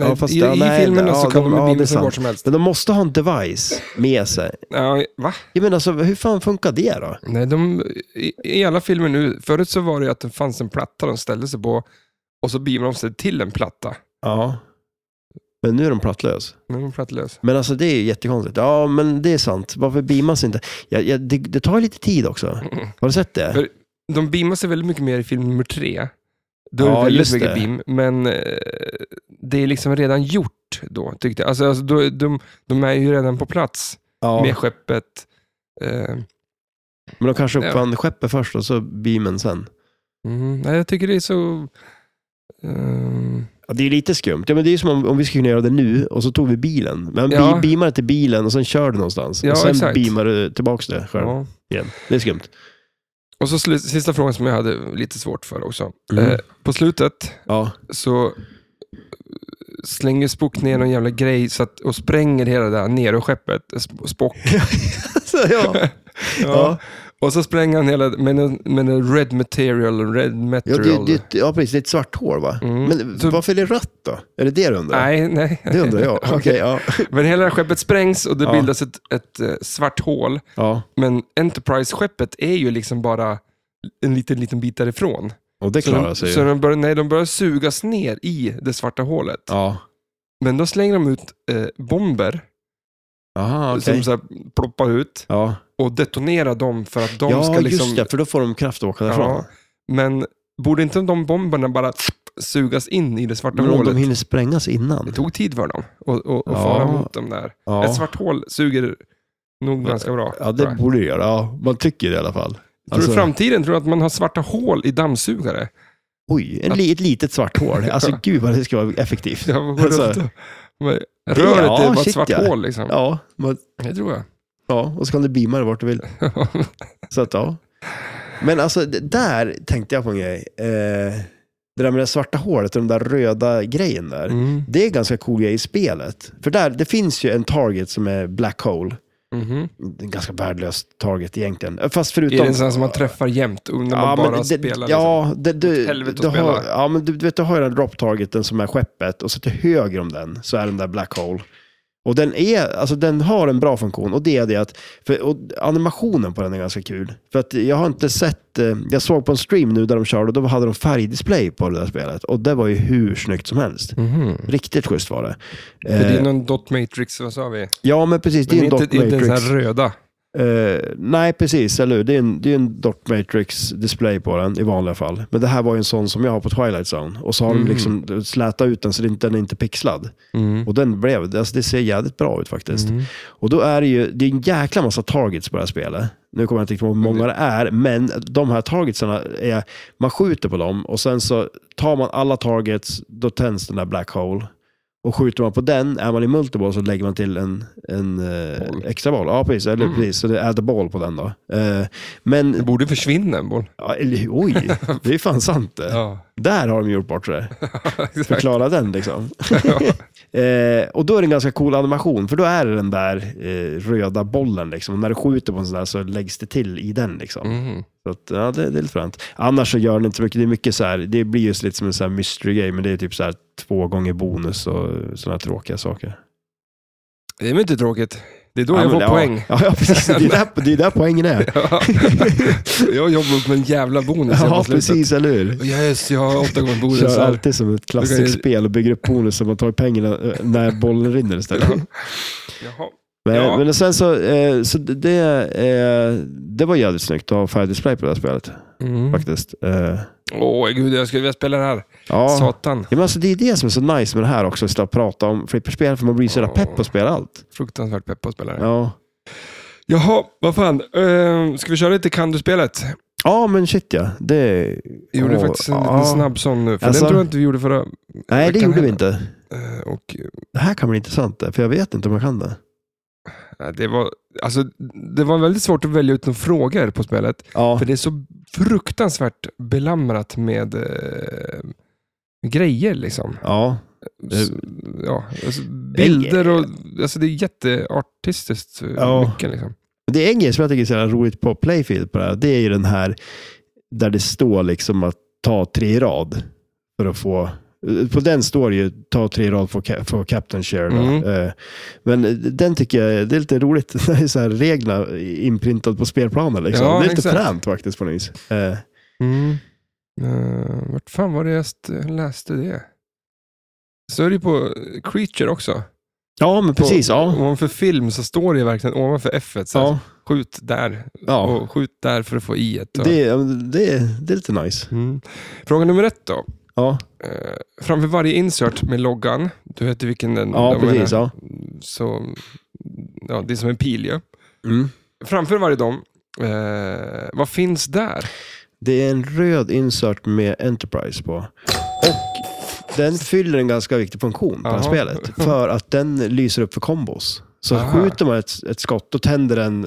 S1: nej,
S2: ja, fast-
S1: I
S2: ja,
S1: i
S2: nej,
S1: filmerna
S2: ja,
S1: så kan de,
S2: de-
S1: ju
S2: ja, det
S1: beama
S2: är
S1: sig vart
S2: sant.
S1: som helst.
S2: Men de måste ha en device med sig.
S1: Ja, va?
S2: Jag menar, alltså, hur fan funkar det då?
S1: Nej, de, i, I alla filmer nu, förut så var det ju att det fanns en platta de ställde sig på och så beamade de sig till en platta.
S2: Ja. Men nu är de plattlös.
S1: Nu är de plattlös.
S2: Men alltså det är ju jättekonstigt. Ja, men det är sant. Varför beamas inte? Ja, ja, det, det tar ju lite tid också.
S1: Mm.
S2: Har du sett det?
S1: För- De beamar sig väldigt mycket mer i film nummer tre. Då
S2: Ja,
S1: är det väldigt
S2: just
S1: mycket
S2: det.
S1: beam, men eh, det är liksom redan gjort då, tyckte jag. Alltså, alltså, då, de, de är ju redan på plats
S2: Ja,
S1: med skeppet. Eh,
S2: Men de kanske uppfann skeppet först och så beamen sen.
S1: Mm, nej, jag tycker det är så... ehm,
S2: Ja, det är lite skumt. Ja, men det är ju som om, om vi skulle kunna göra det nu och så tog vi bilen. Men
S1: Ja.
S2: ja. beamar till bilen och sen kör du någonstans.
S1: Ja,
S2: och sen
S1: exakt.
S2: beamar du tillbaka det själv
S1: ja.
S2: igen. Det är skumt.
S1: Och så slu- sista frågan som jag hade lite svårt för också.
S2: Mm.
S1: Eh, på slutet
S2: Ja.
S1: så slänger Spock ner någon jävla grej så att, och spränger hela det där Nero-skeppet. Sp- Spock.
S2: Så, ja.
S1: Ja.
S2: Ja.
S1: Och så spränger han hela med en, med en red material, red
S2: Ja,
S1: material.
S2: det, det, ja, precis. Det är ett svart hår va?
S1: Mm.
S2: Men
S1: Så-
S2: varför är det rött då? Är det det du undrar?
S1: Nej, nej.
S2: Det undrar jag. Okej, ja.
S1: Men hela det här skeppet sprängs och det
S2: Ja.
S1: bildas ett, ett eh, svart hål.
S2: ja.
S1: Men Enterprise-skeppet är ju liksom bara en liten, liten bit därifrån.
S2: Och det
S1: så
S2: klarar
S1: de,
S2: sig
S1: så
S2: ju.
S1: de, börjar, nej, de börjar sugas ner i det svarta hålet.
S2: Ja.
S1: Men då slänger de ut eh, bomber
S2: Aha, okej.
S1: som så här ploppar ut
S2: Ja,
S1: och detonerar dem för att de
S2: ja
S1: ska liksom...
S2: just det. För då får de kraft att åka därifrån.
S1: Ja. Men borde inte de bomberna bara sugas in i det svarta
S2: Men om
S1: hålet?
S2: de hinner sprängas
S1: Det
S2: innan.
S1: tog tid för dem att och, och
S2: Ja.
S1: fara mot dem där.
S2: Ja.
S1: Ett svart hål suger nog ganska bra.
S2: Ja,
S1: tror
S2: det alltså-
S1: jag.
S2: borde det göra. Ja, man tycker det i alla fall.
S1: Tror du i framtiden tror du att man har svarta hål i dammsugare?
S2: Oj, en li, ett litet svart hål. Alltså gud vad det ska vara effektivt.
S1: Ja, vad går det
S2: Alltså,
S1: runt och- men Röret
S2: Ja,
S1: är bara ett
S2: shit,
S1: svart
S2: ja.
S1: hål liksom.
S2: ja, men,
S1: Det tror jag.
S2: ja, och så kan du beama det vart du vill. Så att, ja. Men alltså, det- där tänkte jag på en grej. Eh, det där med det svarta hålet och den där röda grejen där.
S1: mm.
S2: Det är ganska cool grej i spelet. För där, det finns ju en target som är black hole.
S1: Mhm.
S2: Det är En ganska värdelös target egentligen. Fast
S1: Är
S2: förutom...
S1: det en sån som man träffar jämt och när man bara
S2: det,
S1: spelar? liksom?
S2: Ja, det, du,
S1: Åt helvete
S2: du
S1: att
S2: har,
S1: spela.
S2: ja, men du, du vet, du har ju den drop targeten som är skeppet och så till höger om den så är den där black hole. Och den, är, alltså den har en bra funktion och det är det att för, och animationen på den är ganska kul. För att jag har inte sett, eh, jag såg på en stream nu där de körde och då hade de färgdisplay på det där spelet och det var ju hur snyggt som helst.
S1: Mhm.
S2: Riktigt schysst var det.
S1: För det är
S2: Eh,
S1: någon dot matrix, vad sa vi?
S2: ja men precis, det är
S1: Men
S2: en
S1: inte,
S2: dock
S1: inte den
S2: matrix.
S1: här röda.
S2: Eh, nej, precis. Eller hur? Det är en, det är en Dot Matrix-display på den i vanliga fall. Men det här var ju en sån som jag har på Twilight Zone. Och så har
S1: Mhm.
S2: de liksom slätat ut den så den, den är inte pixlad.
S1: Mm.
S2: Och den blev, alltså det ser jävligt bra ut faktiskt.
S1: Mm.
S2: Och då är det ju, det är en jäkla massa targets på det här spelet. Nu kommer jag inte riktigt ihåg hur många det är, men de här targetsarna är, man skjuter på dem och sen så tar man alla targets, då tänds den där black hole. Och skjuter man på den, är man i multiball så lägger man till en, en eh,
S1: Boll.
S2: extra boll. Ja, precis. Eller,
S1: Mm.
S2: precis. Så det är the ball på den då. Eh, men,
S1: Det borde försvinna en boll.
S2: ja, eller, oj, det är fan sant det.
S1: Ja,
S2: Där har de gjort bort det.
S1: exakt.
S2: Förklara den liksom.
S1: Ja.
S2: Eh, och då är det en ganska cool animation, för då är det den där eh, röda bollen. Liksom. Och när du skjuter på en sån där så läggs det till i den. Liksom.
S1: Mhm.
S2: Så att, ja, det, det är lite fränt. Annars så gör den inte så mycket. Det, är mycket så här, det blir ju lite som en sån här mystery-grej, men det är typ så här två gånger bonus och sådana tråkiga saker.
S1: Det är väl inte tråkigt? Det är då
S2: ja,
S1: jag
S2: men
S1: får
S2: det-
S1: poäng.
S2: Ja, ja precis. Det är, där, det är där poängen är.
S1: Ja. jag jobbar upp med en jävla bonus här på
S2: Ja,
S1: slutet.
S2: precis, eller hur?
S1: Yes, jag har åtta gånger
S2: Kör
S1: bonusar.
S2: alltid som ett
S1: Du
S2: klassiskt
S1: kan ju-
S2: spel och bygger upp bonus så man tar pengarna eh, när bollen rinner istället.
S1: Jaha.
S2: Men,
S1: Ja.
S2: men sen så, eh, så det, det, eh, det var jävligt snyggt att ha färgdisplay på det här spelet
S1: Mm.
S2: faktiskt. Eh,
S1: Åh gud, jag skulle vilja spela det här.
S2: ja.
S1: Satan,
S2: Ja, men alltså, det är det som är så nice med det här också, att slippa prata om flipperspel, för man blir så jävla pepp på att spela allt.
S1: fruktansvärt pepp på att spela det.
S2: Ja.
S1: Jaha, vad fan. Ehm, ska vi köra lite Kan du-spelet?
S2: ja, men shit ja. Det...
S1: Jag gjorde
S2: Åh,
S1: faktiskt en
S2: ja.
S1: liten snabb sån nu, för
S2: Alltså-
S1: den tror jag inte vi gjorde förra...
S2: Nej, det
S1: Veckan
S2: gjorde vi
S1: här.
S2: inte.
S1: eh, Och,
S2: Det här kan bli intressant, för jag vet inte om jag kan det.
S1: eh, det, var, alltså, det var väldigt svårt att välja ut några frågor på spelet.
S2: Ja,
S1: För det är så fruktansvärt belamrat med eh, grejer. liksom.
S2: ja.
S1: S- Eh, ja, alltså, bilder och... Alltså, det är jätteartistiskt eh,
S2: Ja.
S1: mycket. Liksom.
S2: Det är en grej som jag tycker är så jävla roligt på Playfield på det här. Det är ju den här där det står liksom att ta tre i rad för att få på den står det ju ta tre i rad för, ca- för Captain Share. då.
S1: Mm.
S2: Eh, Men den tycker jag, det är lite roligt. Det är så här reglerna inprintade på spelplanen. Liksom.
S1: Ja,
S2: det är lite
S1: exakt.
S2: fränt faktiskt på något vis. Eh,
S1: Mm. Eh, vart fan var det jag st- läste det? Så är det ju på Creature också.
S2: Ja, men
S1: På-
S2: precis. Ja.
S1: Ovanför film så står det ju verkligen ovanför F. Så här,
S2: Ja,
S1: Skjut där
S2: ja.
S1: och skjut där för att få i ett. och-
S2: Det, är- det, är- det är lite nice.
S1: Mm. Fråga nummer ett då.
S2: Ja,
S1: Eh, framför varje insert med loggan, du vet ju vilken den
S2: ja
S1: de
S2: precis.
S1: är,
S2: Ja.
S1: så, ja, det är som en pil ju.
S2: Mm.
S1: Framför varje dem Eh, vad finns där?
S2: Det är en röd insert med Enterprise på. Och den fyller en ganska viktig funktion på det här
S1: Jaha.
S2: spelet. För att den lyser upp för kombos. Så
S1: Aha.
S2: skjuter man ett, ett skott, då tänder den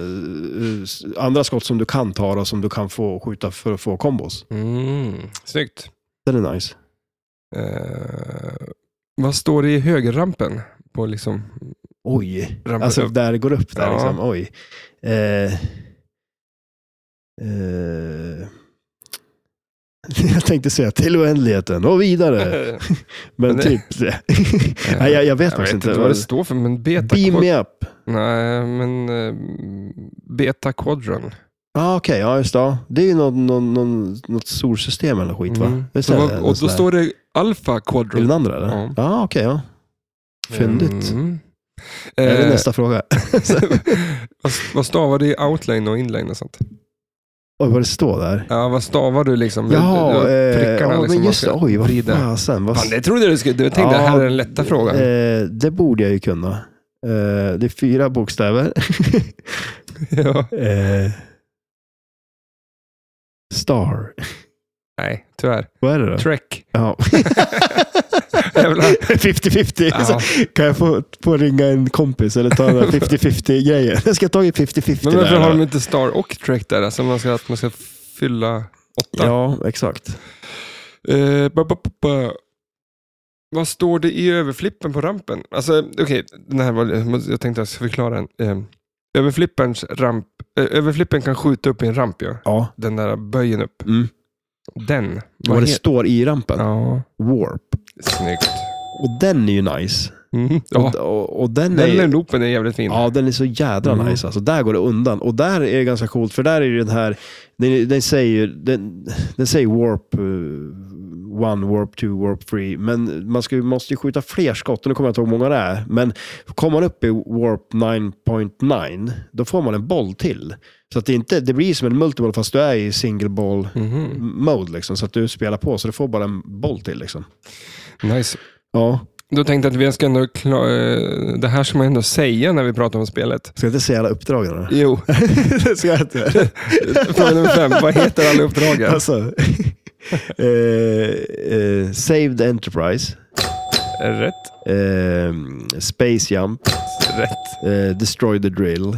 S2: eh, s- andra skott som du kan ta och som du kan få skjuta för att få kombos.
S1: Mm, snyggt.
S2: Den är nice.
S1: Eh, vad står det i högerrampen? På liksom,
S2: Oj,
S1: rampen
S2: alltså
S1: upp?
S2: där det går upp där
S1: Ja.
S2: liksom. Oj. Eh, eh, jag tänkte säga till oändligheten och vidare. Men
S1: Men-
S2: typ det. Nej, jag, jag vet
S1: eh, jag vet
S2: faktiskt
S1: inte
S2: inte.
S1: vad det står för, men beta...
S2: Beam
S1: quad-
S2: me up.
S1: Nej, men eh, beta quadron.
S2: Ja, okej. ja, just det. Ja. Det är ju någon, någon, någon, något solsystem eller skit, va?
S1: Mm.
S2: Visst
S1: Så
S2: är
S1: vad-
S2: det
S1: och då står det alfa
S2: det... Är det
S1: quadron.
S2: den andra, eller?
S1: Ja.
S2: Ja, okej. ja. Fyndigt.
S1: Mm.
S2: Är det
S1: Eh,
S2: nästa fråga?
S1: vad, vad stavar du i outline och inline och sånt?
S2: Oj, vad det står där.
S1: Ja, vad stavar du liksom?
S2: Jaha, eh,
S1: prickarna
S2: ja,
S1: liksom.
S2: men just det.
S1: man ska
S2: Oj, vad
S1: vrida.
S2: fasen. Vad...
S1: Fan, det trodde du skulle... Du tänkte
S2: Ja,
S1: det här är den lätta frågan.
S2: Eh, det borde jag ju kunna. Eh, det är fyra bokstäver.
S1: ja.
S2: eh, star.
S1: Nej, tyvärr.
S2: Vad är det då?
S1: Trek.
S2: Ja.
S1: Jävlar.
S2: 50-50.
S1: Ja.
S2: Kan jag få, få ringa en kompis eller ta den där 50-50-grejen? Jag ska ha tagit 50-50
S1: Men varför
S2: där.
S1: har de inte Star och Trek där? Alltså man ska, att man ska fylla åtta.
S2: Ja, exakt.
S1: Eh, ba, ba, ba, ba. Vad står det i överflippen på rampen? Alltså, okej, den här var, jag tänkte jag ska förklara den. Eh, överflipperns ramp, eh, överflippen kan skjuta upp i en ramp, ja.
S2: Ja.
S1: Den där böjen upp.
S2: Mm.
S1: Den.
S2: Vad det
S1: he-
S2: står i rampen.
S1: Ja,
S2: Warp.
S1: snyggt.
S2: Och den är ju nice.
S1: Mm, ja.
S2: Och, och, och den,
S1: Den
S2: är,
S1: där loopen är jävligt fin.
S2: Ja, den är så jädra
S1: Mm.
S2: nice. Alltså, där går det undan. Och där är det ganska coolt, för där är ju den här... Den, den säger ju... Den, den säger warp 1, warp 2, warp 3. Men man ska, ju- måste ju skjuta fler skott. och Nu kommer jag inte ihåg hur många det är. Men kommer man upp i warp 9.9, då får man en boll till. Så att det, inte, det blir som en multiball fast du är i single ball
S1: Mhm,
S2: mode. Liksom, så att du spelar på, så du får bara en boll till. Liksom.
S1: Nice.
S2: Ja,
S1: Då tänkte jag att vi ska ändå kla- eh, det här ska man ändå säga när vi pratar om spelet.
S2: ska jag inte säga alla uppdragen? då?
S1: Jo,
S2: Det ska jag inte.
S1: fråga nummer fem. Vad heter alla uppdragen?
S2: Alltså, eh, eh, Saved Enterprise,
S1: Rätt.
S2: eh, Space Jump,
S1: Rätt.
S2: eh, Destroy the Drill.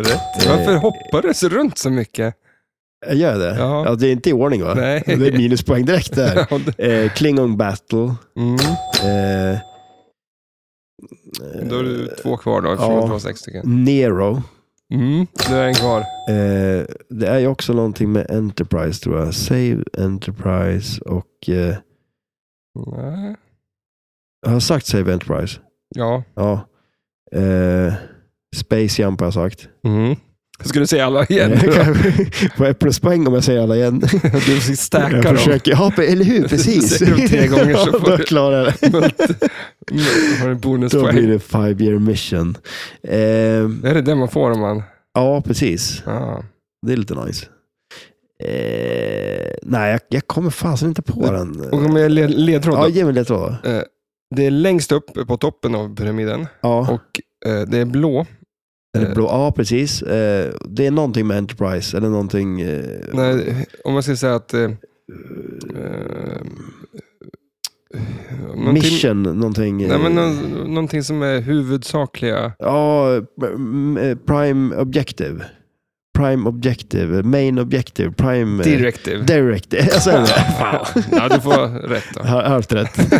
S1: Rätt.
S2: Eh,
S1: Varför hoppar du så runt så mycket?
S2: Eh, Gör jag det?
S1: Ja.
S2: Ja, det är inte i ordning va?
S1: Nej.
S2: Det är minuspoäng direkt där.
S1: Ja, det-
S2: Eh, Klingon Battle.
S1: Mm.
S2: Eh,
S1: Då är det två kvar då, eftersom
S2: Ja.
S1: det var sex stycken.
S2: Nero.
S1: Mm. Nu är en kvar.
S2: Eh, det är ju också någonting med Enterprise tror jag. Save Enterprise och... Eh,
S1: Nej.
S2: jag har sagt Save Enterprise.
S1: Ja.
S2: Ja. Eh, Space Jump har jag sagt.
S1: Mm. Jag skulle säga alla igen.
S2: Eh, kanske- Vad är pluspoäng om jag säger alla igen?
S1: Du stackar
S2: jag
S1: dem.
S2: försöker, ja, men- eller hur? Precis.
S1: Säger du tre gånger så
S2: Ja,
S1: får
S2: då
S1: du-
S2: klarar jag det.
S1: Men- men Har en
S2: Då
S1: bonuspoäng.
S2: blir det five year mission. Ehm,
S1: Det är det där man får om man...
S2: ja, precis.
S1: Ja.
S2: Det är lite nice. Ehm, nej, jag, jag kommer fasen inte på den.
S1: Och om jag led, ledtråd då.
S2: Ja, ge mig lite då.
S1: Eh, Det är längst upp på toppen av pyramiden
S2: Ja,
S1: och eh, det är blå.
S2: den är blå. ja precis. Ehm, det är någonting med Enterprise eller någonting. eh,
S1: Nej, om man ska säga att... eh, eh, någonting-
S2: mission, någonting. eh,
S1: Nej, men nå- någonting som är huvudsakliga.
S2: Ja, m- eh, prime objective. Prime objective, main objective, prime... eh,
S1: Directive.
S2: Directive. Jag sa det.
S1: Fan. Ja, du får rätt då.
S2: Har jag haft rätt?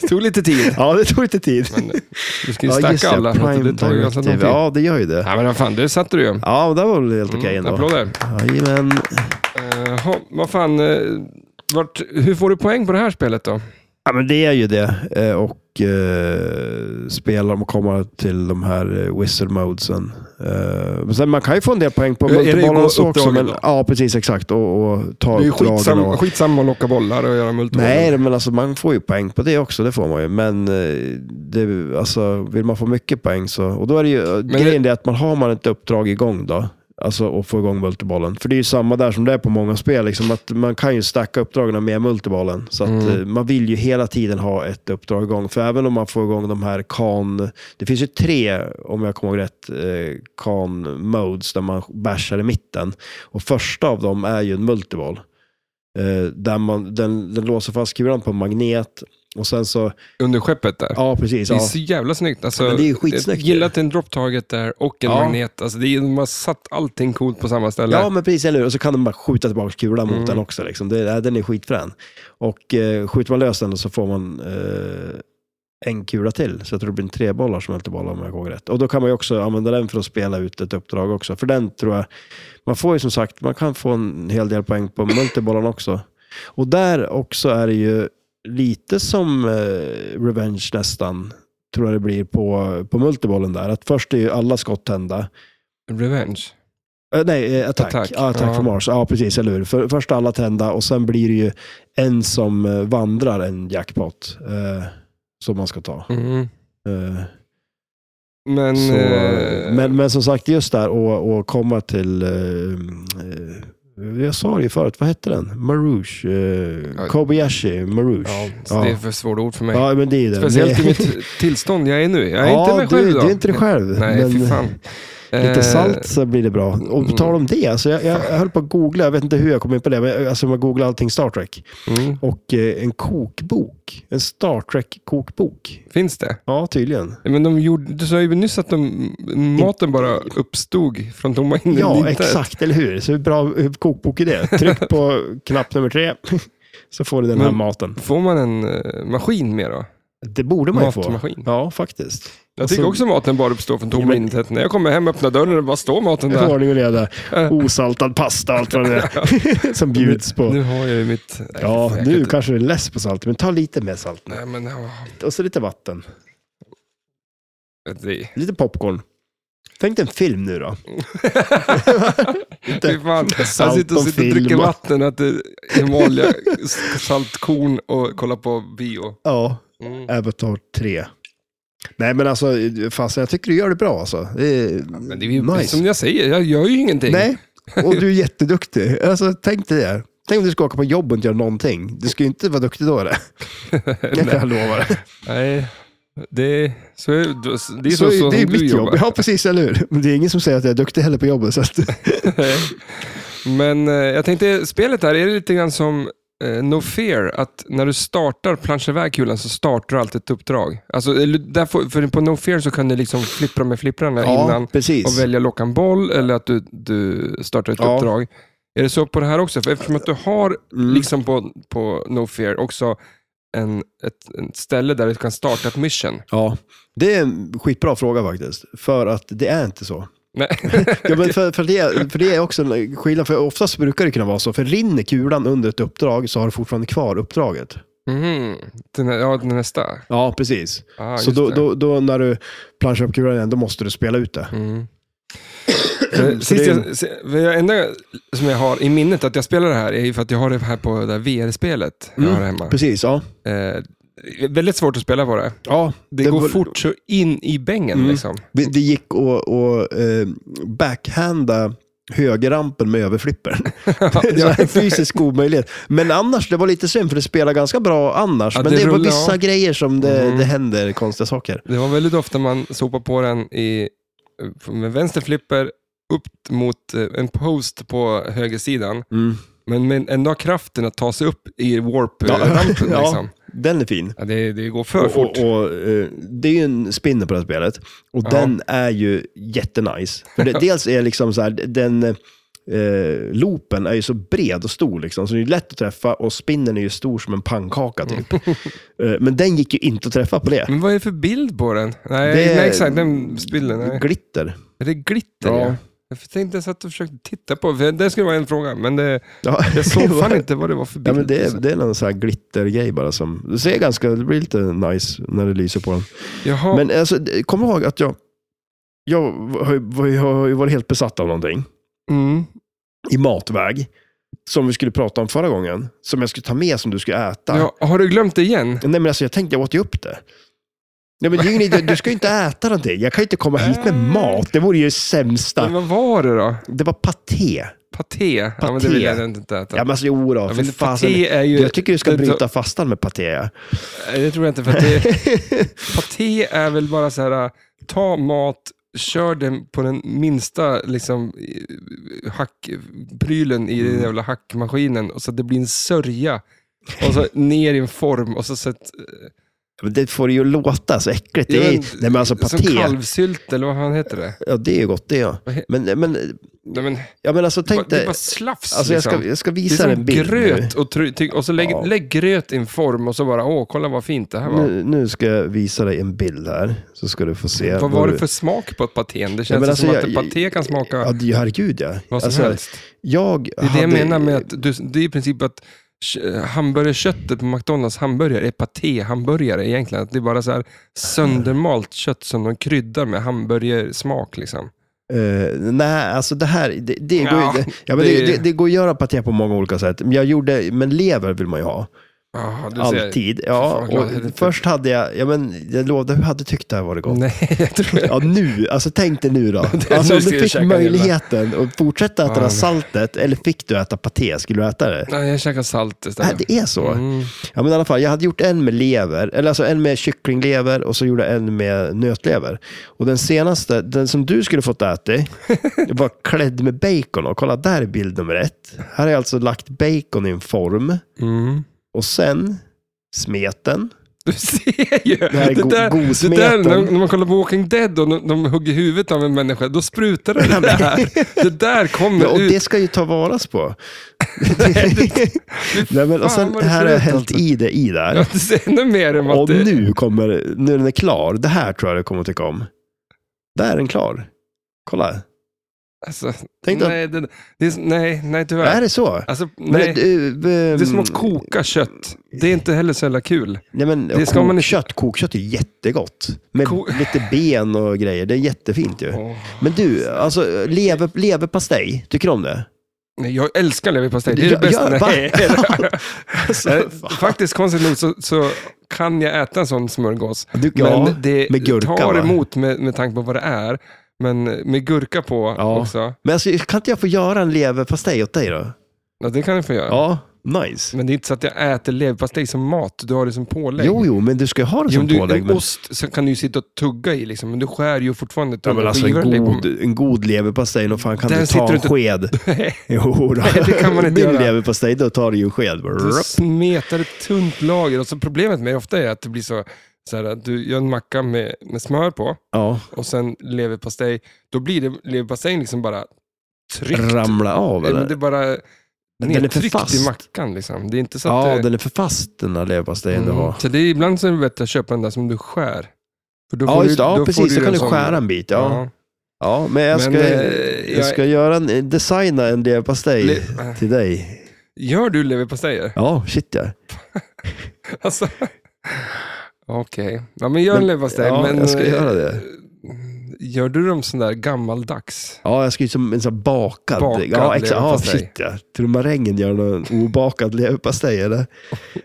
S1: Det tog lite tid.
S2: Ja, det tog lite tid.
S1: Men du ska ju
S2: Ja, just
S1: stacka alla. så att
S2: Prime
S1: Det tar ju ganska lång tid.
S2: directive.
S1: Ja.
S2: Ja, det gör ju det.
S1: men vad fan, det satte du ju.
S2: Ja, det var väl helt okej
S1: Mm,
S2: ändå.
S1: applåder.
S2: Jajamän.
S1: Jaha, vad fan. eh, Vart, hur får du poäng på det här spelet då?
S2: Ja, men det är ju det. Eh, Och eh, spelar om att komma till de här eh, whistle modesen. Eh, men sen man kan ju få en del poäng på
S1: Är det
S2: multibollarna också.
S1: uppdragen
S2: men-
S1: då?
S2: Ja, precis. Exakt. Och, och ta
S1: Det är ju
S2: uppdragen.
S1: skitsam,
S2: och-
S1: skitsamma att locka bollar och göra multibollar.
S2: Nej, men alltså man får ju poäng på det också, det får man ju. Men eh, eh, det, alltså, vill man få mycket poäng så... Och då är det ju, grejen är att man har man ett uppdrag igång då, Alltså att få igång multibollen. För det är ju samma där som det är på många spel. Liksom, att man kan ju stacka uppdragen med multibollen. Så att,
S1: Mm.
S2: eh, man vill ju hela tiden ha ett uppdrag igång. För även om man får igång de här kan... Det finns ju tre, om jag kommer ihåg rätt, eh, kan-modes där man bashar i mitten. Och första av dem är ju en multiboll. Eh, där man, den, den låser fast kulan på en magnet. Och sen så...
S1: Under skeppet där.
S2: Ja, precis.
S1: Det är
S2: Ja.
S1: så jävla snyggt. Alltså,
S2: Men det är ju skitsnyggt
S1: jag gillar att det är en drop target där och en
S2: Ja.
S1: magnet. Alltså, det är, de har satt allting coolt på samma ställe.
S2: Ja, men precis. Eller hur? Och så kan de bara skjuta tillbaka kulan mot
S1: Mm.
S2: den också. Liksom. Det, ja, den är skitfrän. Och eh, skjuter man lös den så får man eh, en kula till. Så jag tror det blir en trebollar som multibollar om jag kommer ihåg rätt. Och då kan man ju också använda den för att spela ut ett uppdrag också. För den tror jag, man får ju som sagt, man kan få en hel del poäng på multibollen också. Och där också är det ju lite som eh, Revenge nästan, tror jag det blir på, på multibollen där. Att först är ju alla skott tända.
S1: Revenge.
S2: Eh, nej, eh, attack.
S1: Attack.
S2: Attack, ja, attack
S1: Ja.
S2: från Mars. Ja, precis. Eller hur? För, först alla tända och sen blir det ju en som eh, vandrar en jackpot eh, som man ska ta.
S1: Mm.
S2: Eh,
S1: Men,
S2: så,
S1: eh,
S2: men, men som sagt, just där och, och komma till... Eh, eh, jag sa det ju förut, vad hette den? Marouche. Eh,
S1: Ja.
S2: Kobayashi Marouche.
S1: ja, så
S2: Ja.
S1: det är för svårt ord för mig.
S2: Ja, men det är ju det.
S1: Speciellt
S2: Det-
S1: i mitt tillstånd jag är nu. Jag är
S2: ja,
S1: inte mig själv
S2: du,
S1: idag.
S2: Du är inte dig själv.
S1: Nej,
S2: men-
S1: fy fan. Eh,
S2: Lite salt så blir det bra. Och på
S1: mm.
S2: tal om det, alltså jag, jag höll på att googla, jag vet inte hur jag kom in på det, men jag- alltså man googlar allting Star Trek.
S1: Mm.
S2: Och eh, en kokbok, en Star Trek-kokbok.
S1: Finns det?
S2: Ja, tydligen.
S1: Men de gjorde, du sa ju nyss att de, maten bara uppstod från tomma inne
S2: Ja, exakt, eller hur? Så hur bra eh, kokbok är det? Tryck på knapp nummer tre, så får du den här
S1: Men-
S2: maten.
S1: Får man en eh, maskin med då?
S2: Det borde man ju få.
S1: Matmaskin.
S2: Ja, faktiskt.
S1: Jag tycker
S2: Alltså-
S1: också maten bara uppstår från
S2: Ja,
S1: tomma
S2: men-
S1: intet. När jag kommer hem, öppnar dörren och bara står maten där.
S2: Ordning och reda. Osaltad pasta och allt vad det är som bjuds på.
S1: Nu har jag ju mitt... Nej,
S2: Ja,
S1: fan, jag kan
S2: nu
S1: inte-
S2: kanske du är less på salt, men ta lite mer salt.
S1: Nej, men ja,
S2: Och så lite vatten.
S1: det...
S2: Lite popcorn. Tänk dig en film nu då.
S1: Fy fan. Jag
S2: salt
S1: sitter och,
S2: och
S1: sitter och
S2: film.
S1: dricker vatten och äter Himalaya, s- saltkorn och kollar på bio.
S2: Ja,
S1: Mm.
S2: Avatar 3. Nej men alltså, fasen jag tycker du gör det bra alltså. Det är,
S1: Men det är ju
S2: nice.
S1: som jag säger, jag gör ju ingenting.
S2: Nej, och du är jätteduktig. Alltså tänk dig det. Tänk om du ska åka på jobb och inte göra någonting. Du ska ju inte vara duktig då. Det. Jag kan lova det.
S1: Nej, det, så, är- det är så,
S2: Så
S1: så, som
S2: det är
S1: du
S2: mitt jobb.
S1: jobbar.
S2: Ja, precis, eller hur? Men det är ingen som säger att jag är duktig heller på jobbet. Så att,
S1: Men eh, jag tänkte, spelet här, är det lite grann som eh, No Fear? Att när du startar plansch iväg kulan så startar du alltid ett uppdrag. Alltså, eller där får, för på No Fear så kan du liksom flippra med flipprarna innan
S2: precis.
S1: och välja locka en boll eller att du, du startar ett
S2: Ja.
S1: uppdrag. Är det så på det här också? För eftersom att du har,
S2: Mm.
S1: liksom på, på No Fear, också en, ett, ett ställe där du kan starta ett mission.
S2: Ja, det är en skitbra fråga faktiskt. För att det är inte så.
S1: Nej.
S2: Ja, men för, för, det, för det är också en skillnad, för oftast brukar det kunna vara så, för rinner kulan under ett uppdrag så har du fortfarande kvar uppdraget.
S1: Mhm. Den här, ja, den nästa.
S2: Ja, precis.
S1: Ah,
S2: så
S1: just
S2: då,
S1: det.
S2: då, då när du planschar upp kulan igen, då måste du spela ut det.
S1: Mm. Eh,
S2: Så
S1: Sist
S2: det är-
S1: jag, se- för det enda som jag har i minnet att jag spelar det här är ju för att jag har det här på det där VR-spelet
S2: Mm.
S1: jag har hemma.
S2: Precis, ja.
S1: Eh, det är väldigt svårt att spela på det.
S2: ja
S1: Det, går
S2: var-
S1: fort så in i bängen
S2: Mm.
S1: liksom.
S2: vi- Det gick att att, eh, backhanda högerrampen med överflippern. det var en fysisk omöjlighet. Men annars, det var lite synd, för det spelar ganska bra annars.
S1: Ja,
S2: men
S1: det
S2: det, var
S1: rullar,
S2: vissa
S1: ja.
S2: grejer som det,
S1: Mm.
S2: det händer konstiga saker.
S1: Det var väldigt ofta man sopade på den i, med vänster flipper upp mot eh, en post på högersidan,
S2: Mm.
S1: men med ändå har kraften att ta sig upp i warp-rampen.
S2: Ja.
S1: Ja. Liksom.
S2: Den är fin.
S1: Ja, det, det går för
S2: och,
S1: fort.
S2: Och, och, eh, det är ju en spinner på det här spelet. Och
S1: Ja.
S2: den är ju jättenice. För det, dels är liksom så här, den eh, loopen är ju så bred och stor liksom, så det är lätt att träffa och spinnen är ju stor som en pannkaka typ.
S1: Mm.
S2: Eh, Men den gick ju inte att träffa på det.
S1: Men vad är det för bild på den? Nej,
S2: Det är-
S1: nej exakt, den bilden. Nej.
S2: Glitter.
S1: Är det glitter?
S2: Ja.
S1: Ja. Jag tänkte inte ens att du försökte titta på, för det skulle vara en fråga, men det,
S2: Ja.
S1: jag såg fan inte vad det var för bild.
S2: Ja, men det, är, det är någon sån här glittergrej bara som... Det ser ganska... Det blir lite nice när det lyser på den.
S1: Jaha,
S2: Men alltså, det- kom ihåg att jag... Jag har ju- var ju- har ju varit helt besatt av någonting.
S1: mm.
S2: i matväg. Som vi skulle prata om förra gången. Som jag skulle ta med som du skulle äta.
S1: ja, har du glömt det igen?
S2: Nej men alltså jag tänkte jag åt ju upp det. Nej, men det är ju ingen idé. Du ska ju inte äta någonting. Jag kan ju inte komma hit med mat. Det vore ju det
S1: Men
S2: sämsta.
S1: vad var det då?
S2: Det var paté.
S1: Paté? Ja, men det vill jag inte äta.
S2: Ja, men alltså, jo då,
S1: men
S2: för
S1: det-
S2: fasen.
S1: paté är ju-
S2: Jag tycker du ska
S1: det-
S2: bryta fastan med paté. ja.
S1: Nej, Det tror jag inte. För att det, paté är väl bara så här, ta mat, kör den på den minsta liksom, eh, hackprylen i
S2: Mm.
S1: den jävla hackmaskinen och så att det blir en sörja. Och så ner i en form och så sätt... eh,
S2: Men det får det ju låta så äckligt. Det
S1: Ja,
S2: är,
S1: men-
S2: nej, men alltså
S1: Som
S2: paté.
S1: kalvsylt eller vad fan heter det?
S2: Ja, det är ju gott det, ja.
S1: Vad he-
S2: Men, men,
S1: Nej, men,
S2: ja, men alltså tänk
S1: det är
S2: dig.
S1: bara slafs
S2: Alltså, jag, ska,
S1: liksom.
S2: jag ska
S1: Det är
S2: visa en
S1: som
S2: bild
S1: gröt och, try- ty- och så lägg,
S2: Ja.
S1: lägg gröt i en form och så bara, åh, kolla vad fint det här
S2: nu.
S1: var.
S2: nu. Nu ska jag visa dig en bild här, så ska du få se.
S1: vad
S2: vad
S1: var
S2: du-
S1: det för smak på patén? Det
S2: Ja,
S1: känns
S2: men
S1: som
S2: alltså,
S1: att
S2: jag-
S1: en paté kan smaka...
S2: Ja, det- herregud ja.
S1: Vad som
S2: Alltså,
S1: helst.
S2: Jag
S1: Det är det jag
S2: hade-
S1: menar med att du, det är i princip att kö- hamburgerköttet på McDonalds hamburgare är paté-hamburgare egentligen. Att Det är bara så här söndermalt kött som de kryddar med hamburgersmak. Liksom.
S2: Eh, nej, alltså det här, det, det, går,
S1: Ja,
S2: ja, ja, men det,
S1: det-
S2: det, det går att göra paté på många olika sätt. Jag gjorde, men lever vill man ju ha.
S1: Ah, du ser-
S2: Alltid.
S1: Fy fan,
S2: Ja,
S1: vad glad jag är.
S2: och först hade jag, ja, men jag lovade, jag hade tyckt det här varit gott.
S1: Nej, jag tror
S2: Ja, nu. Alltså tänk dig nu då.
S1: är så
S2: Alltså, om
S1: du
S2: du
S1: skulle käka
S2: fick
S1: en jävla-
S2: möjligheten att fortsätta äta det här
S1: Fan.
S2: saltet, eller fick du äta paté, skulle du äta det?
S1: Nej, jag käkar salt
S2: Nej,
S1: istället.
S2: det är så.
S1: Mm.
S2: Ja, men i alla fall, jag hade gjort en med lever, eller alltså en med kycklinglever och så gjorde jag en med nötlever. Och den senaste, den som du skulle fått äta, var klädd med bacon. Och kolla, där är bild nummer ett. Här har jag alltså lagt bacon i en form
S1: Mm.
S2: och sen smeten.
S1: Du ser ju! Det,
S2: här är go-
S1: där, det
S2: gosmeten.
S1: där, när, när man kollar på Walking Dead och de, de hugger huvudet av en människa, då sprutar det det där. Det där kommer
S2: Ja, och
S1: ut.
S2: det ska ju ta varas på. Nej, men, och
S1: fan
S2: sen
S1: vad det
S2: här
S1: ser
S2: har jag
S1: ut
S2: hällt
S1: alltså.
S2: i det i där.
S1: Ja, det ser ännu mer än att
S2: Och
S1: det...
S2: nu kommer, nu den är klar, det här tror jag du kommer att tycka om. Där är den klar. Kolla.
S1: Alltså,
S2: Tänk dig-
S1: nej, det, det är, nej, nej, tyvärr.
S2: Är det så?
S1: Alltså,
S2: Men
S1: nej.
S2: det- du, ehm,
S1: Det är som att koka kött. Det är inte heller så jävla kul.
S2: Nej, men
S1: det ska man inte-
S2: kokkött, kokkött är jättegott. Med
S1: Ko-
S2: lite ben och grejer. Det är jättefint ju.
S1: Åh.
S2: Men du, alltså lever, leverpastej, tycker du om det?
S1: Nej, jag älskar leverpastej. Det är det
S2: Ja,
S1: bästa.
S2: ja, va?
S1: nej.
S2: Alltså,
S1: Nej,
S2: fan.
S1: Faktiskt, konstigt nog, så, så kan jag äta en sån smörgås.
S2: Du- ja,
S1: men det
S2: med gurka,
S1: tar
S2: va?
S1: emot med, med tanke på vad det är. Men eh, med gurka på
S2: Ja.
S1: också.
S2: Men alltså, kan inte jag få göra en leverpastej åt dig då?
S1: Ja, det kan jag få göra.
S2: Ja, nice.
S1: Men det är inte så att jag äter leverpastej som mat. Du har det som pålägg.
S2: Jo, jo, men du ska ju ha det
S1: Jo,
S2: som
S1: men du,
S2: pålägg.
S1: en
S2: Men...
S1: ost så kan du ju sitta och tugga i, liksom, men du skär ju fortfarande
S2: Ja, men
S1: tunga
S2: alltså, en,
S1: skivor och lägger på.
S2: god, en god leverpastej, och fan kan
S1: Där
S2: du
S1: sitter
S2: ta
S1: du
S2: en
S1: inte-
S2: sked? Jo, då.
S1: Nej, det kan man inte
S2: Min
S1: göra.
S2: leverpastej, då tar du ju en sked. Bara,
S1: Du
S2: rup.
S1: smetar ett tunt lager och så problemet med det ofta är att det blir så, så här, att du gör en macka med, med smör på
S2: Ja,
S1: och sen leverpastej. Då blir det, leverpastejen liksom bara tryckt.
S2: ramla av
S1: Nej,
S2: eller?
S1: men det är bara
S2: Men den är för
S1: nedtryckt i
S2: fast.
S1: mackan. Liksom. Det är inte så att
S2: Ja,
S1: det... Mm.
S2: den är för fast den här leverpastejen du har.
S1: Så det är ibland så är det bättre att köpa den där som du skär. För då
S2: Ja,
S1: får
S2: just det.
S1: du-
S2: Ja,
S1: då får
S2: precis.
S1: ju
S2: Så kan
S1: en
S2: du
S1: sån-
S2: skära en bit. Ja.
S1: Ja.
S2: Ja, men jag ska,
S1: Men, eh,
S2: jag ska göra en, designa en leverpastej
S1: Le-
S2: till dig.
S1: Gör du leverpastejer?
S2: Ja, shit ja.
S1: Alltså, Okej, ja, men gör en leverpastej.
S2: ja,
S1: men,
S2: jag ska
S1: eh,
S2: göra det.
S1: Gör du dem sån där gammaldags?
S2: Ja, jag ska ju som en sån här bakad.
S1: Bakad
S2: ja, exakt. Ja,
S1: leverpastej.
S2: shit ja. Tror du marängen gör någon obakad leverpastej eller?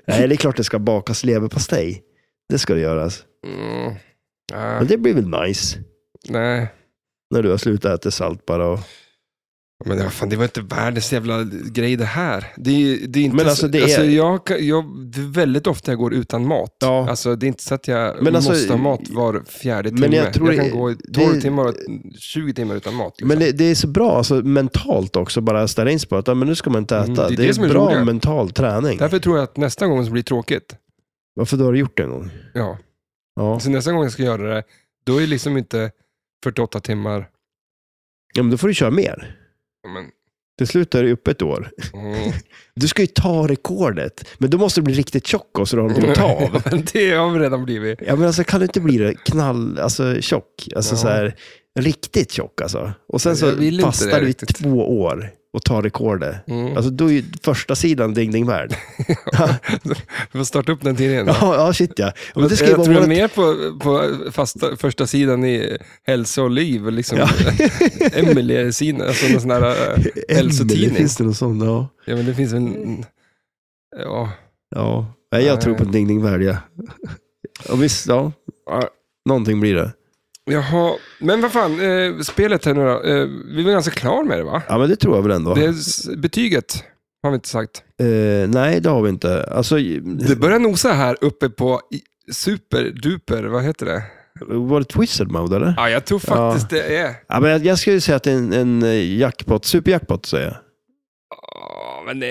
S2: Nej, det är klart det ska bakas leverpastej. Det ska det göras.
S1: Mm. Ah,
S2: Men det blir väl nice
S1: nej.
S2: när du har slutat äta salt bara. Och...
S1: Men det var, fan, det var inte världens jävla grej det här. Det är, det är inte
S2: Men
S1: så-
S2: alltså, det är-
S1: alltså, jag, kan- jag, det är väldigt ofta jag går utan mat.
S2: Ja.
S1: Alltså, det är inte så att jag
S2: Men alltså-
S1: måste ha mat var fjärde
S2: Men
S1: timme.
S2: jag tror
S1: kan
S2: det-
S1: gå i 12
S2: det-
S1: timmar och 20 timmar utan mat. Liksom.
S2: Men det, det är så bra alltså, mentalt också, bara ställa in sig på att ja, men nu ska man inte äta.
S1: Mm, det är
S2: det,
S1: det
S2: är
S1: som är
S2: bra
S1: roligare.
S2: mental träning.
S1: Därför tror jag att nästa gång så blir det tråkigt.
S2: Varför då har du gjort det en gång?
S1: Ja.
S2: Ja.
S1: Så nästa gång jag ska göra det, då är det liksom inte 48 timmar.
S2: ja, men då får du köra mer.
S1: Men,
S2: Till slut är du uppe ett år.
S1: mm.
S2: Du ska ju ta rekordet, men då måste du bli riktigt tjock och så du har något att ta av.
S1: det har vi redan blivit.
S2: Ja, men alltså, kan du inte bli det knall, alltså, tjock? Alltså,
S1: Ja.
S2: så här, riktigt tjock alltså. Och sen så
S1: Jag vill inte det
S2: fastar du i
S1: riktigt.
S2: två år och tar rekordet.
S1: Mm.
S2: Alltså, då är ju första sidan ding ding värld.
S1: Vi får starta upp den tidningen.
S2: Ja, ja shit ja. Men det ska ju
S1: jag
S2: vara
S1: tror jag
S2: vårat...
S1: mer på, på fasta, första sidan i Hälsa och liv, liksom.
S2: Ja.
S1: Emelie-sidan, alltså någon sån här eh,
S2: Emelie,
S1: hälsotidning.
S2: Finns Mm. det någon sån? Ja.
S1: Ja, men det finns en... Ja.
S2: ja. Nej, jag
S1: Nej.
S2: tror på ding ding värld, ja. Och visst, ja.
S1: Ja,
S2: Någonting blir det.
S1: Jaha, men vad fan, eh, spelet här nu då. Eh, vi var ganska klar med det va?
S2: Ja, men det tror jag väl ändå.
S1: Det är s- betyget har vi inte sagt.
S2: Eh, nej, det har vi inte. Alltså,
S1: Det börjar nosa här uppe på i- superduper, vad heter det?
S2: var det Twisted Mode eller?
S1: Ja, jag tror faktiskt det är.
S2: Ja, men jag, jag skulle säga att det är en, en eh, jackpot, superjackpot säger jag.
S1: Ja, men eh,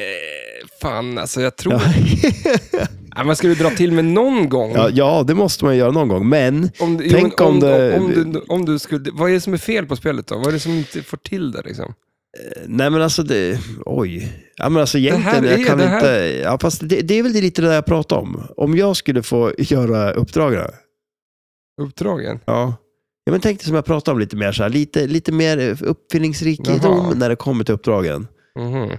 S1: fan alltså, jag tror...
S2: Ja.
S1: Ja, man skulle dra till med någon gång.
S2: ja, ja, det måste man ju göra någon gång, men eh,
S1: Om, jo,
S2: Tänk
S1: men
S2: om det-
S1: Om, om, du, om du skulle... Vad är det som är fel på spelet då? Vad är det som inte får till det liksom?
S2: Nej men alltså, det, oj. Ja, men alltså
S1: här
S2: egentligen,
S1: är-
S2: jag kan
S1: det här-
S2: inte... Ja, fast det, det är väl det lite det jag pratar om. Om jag skulle få göra uppdragen.
S1: Uppdragen?
S2: Ja. ja men tänk dig som jag pratade om lite mer, så här, lite, lite mer eh, uppfinningsrikedom
S1: Jaha.
S2: när det kommer till uppdragen.
S1: Mhm.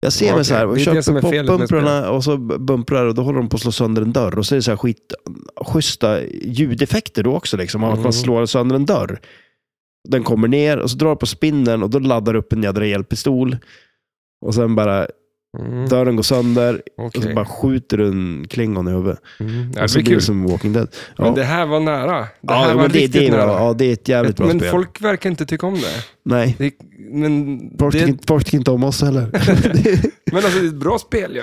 S2: Jag ser
S1: Ja,
S2: mig så här,
S1: okej.
S2: och
S1: Det är det som
S2: köper
S1: är felet med
S2: popbumprarna och så bumprar och då håller de på att slå sönder en dörr. Och så är det så här skit, schyssta ljudeffekter då också, liksom, av att
S1: Mm.
S2: man slår sönder en dörr. Den kommer ner och så drar du på spinnen och då laddar du upp en jädra elpistol. Och sen bara,
S1: Mm.
S2: dörren går sönder
S1: Okej.
S2: och så bara skjuter du en klingon i huvudet.
S1: Mm. Ja,
S2: och
S1: det
S2: så
S1: blir
S2: blir det
S1: kul.
S2: som Walking Dead. Ja,
S1: Men det här var nära. Det
S2: ja,
S1: här
S2: jo,
S1: var
S2: men det,
S1: riktigt
S2: det är bra.
S1: nära.
S2: Ja, det är ett jävligt bra
S1: men
S2: spel.
S1: folk verkar inte tycka om det.
S2: Nej,
S1: det men,
S2: folk
S1: det,
S2: tycker inte- folk tycker inte om oss heller.
S1: men alltså det är ett bra spel ju.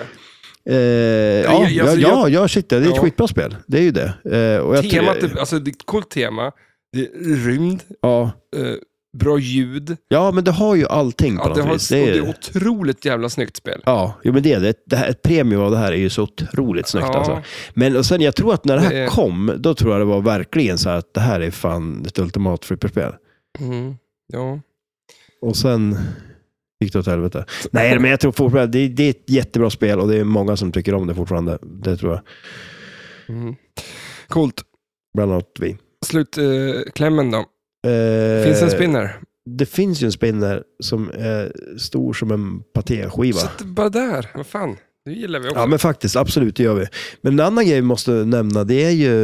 S2: Eh, ja,
S1: jag-
S2: ja,
S1: alltså,
S2: ja, ja, shit, det är ett
S1: Ja.
S2: skitbra spel. Det är ju det. Eh, och jag
S1: Temat,
S2: tror-
S1: är, alltså det är ett coolt tema. Det är rymd,
S2: ja.
S1: eh, bra ljud.
S2: ja, men det har ju allting på
S1: Ja, det,
S2: något
S1: har,
S2: vis. Det
S1: och det är
S2: är,
S1: otroligt jävla snyggt spel.
S2: ja, jo, men det är det. det här, ett premium av det här är ju så otroligt snyggt.
S1: Ja.
S2: Alltså. Men och sen, jag tror att när det här
S1: Det är-
S2: kom, då tror jag det var verkligen så här att det här är fan ett ultimat flipperspel.
S1: Mm. Ja.
S2: Och sen gick det åt helvete. Nej, men jag tror fortfarande det, det är ett jättebra spel och det är många som tycker om det fortfarande. Det tror jag.
S1: Mm. Coolt.
S2: Bland annat vi.
S1: Slutklämmen eh, klämmen då.
S2: Eh,
S1: Finns det en spinner?
S2: Det finns ju en spinner som är stor som en patéskiva.
S1: Så att det bara där. Vad fan. Det gillar vi också.
S2: Ja men faktiskt, absolut det gör vi. Men en annan grej vi måste nämna det är ju,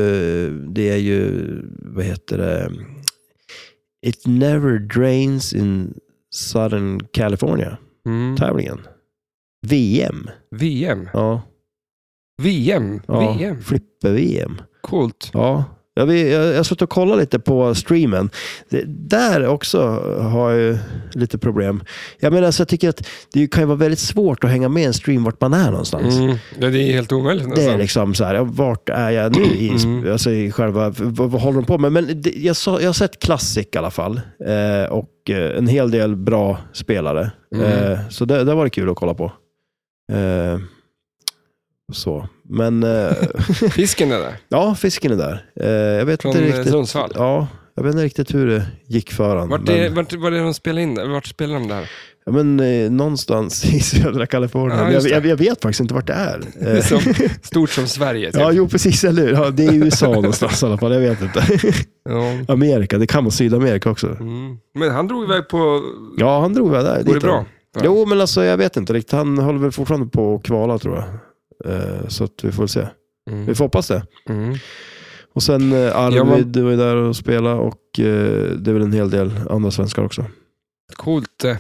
S2: det är ju vad heter det? It never drains in Southern California
S1: mm.
S2: tävlingen. VM.
S1: VM.
S2: Ja.
S1: VM.
S2: ja.
S1: VM.
S2: Flipper-VM.
S1: Coolt.
S2: Ja. Jag, vi- jag, jag har suttit och kollat lite på streamen. Det, där också har jag ju lite problem. Jag menar, så jag tycker att det kan ju vara väldigt svårt att hänga med i en stream vart man är någonstans.
S1: Mm. Ja, det är helt omöjligt
S2: Det är
S1: nästan.
S2: liksom så här, ja, vart är jag nu i,
S1: Mm.
S2: alltså i själva, vad, vad håller de på med? Men det, jag, sa, jag har sett Classic i alla fall eh, och eh, en hel del bra spelare.
S1: Mm.
S2: Eh, så det, det var det kul att kolla på. Eh, så. Men eh,
S1: Fisken är där.
S2: ja, fisken är där. Eh, jag vet
S1: Från
S2: inte
S1: eh,
S2: riktigt.
S1: Sundsvall.
S2: Ja, jag vet inte riktigt hur det gick för honom.
S1: Vart, är,
S2: men,
S1: vart var det de spelade in det? Vart spelade de det här?
S2: ja, men, eh, någonstans i södra Kalifornien.
S1: Ja,
S2: Men jag,
S1: just det.
S2: jag, jag vet faktiskt inte vart det är.
S1: Det är
S2: Eh,
S1: så stort som Sverige. Typ.
S2: Ja,
S1: Ja.
S2: jo precis, eller hur? Ja, det är i USA någonstans i alla fall, jag vet inte. Amerika, det kan vara Sydamerika också.
S1: Mm. Men han drog iväg på...
S2: Ja, han drog väl där.
S1: Går det
S2: dit
S1: bra?
S2: han. Jo, men alltså jag vet inte riktigt. Han håller väl fortfarande på att kvala tror jag. Eh, Så att vi får väl se.
S1: Mm.
S2: Vi får hoppas det.
S1: Mm.
S2: Och sen eh, Arvid
S1: Ja, men-
S2: var ju där och spelade och eh, det är väl en hel del andra svenskar också.
S1: Coolt. eh.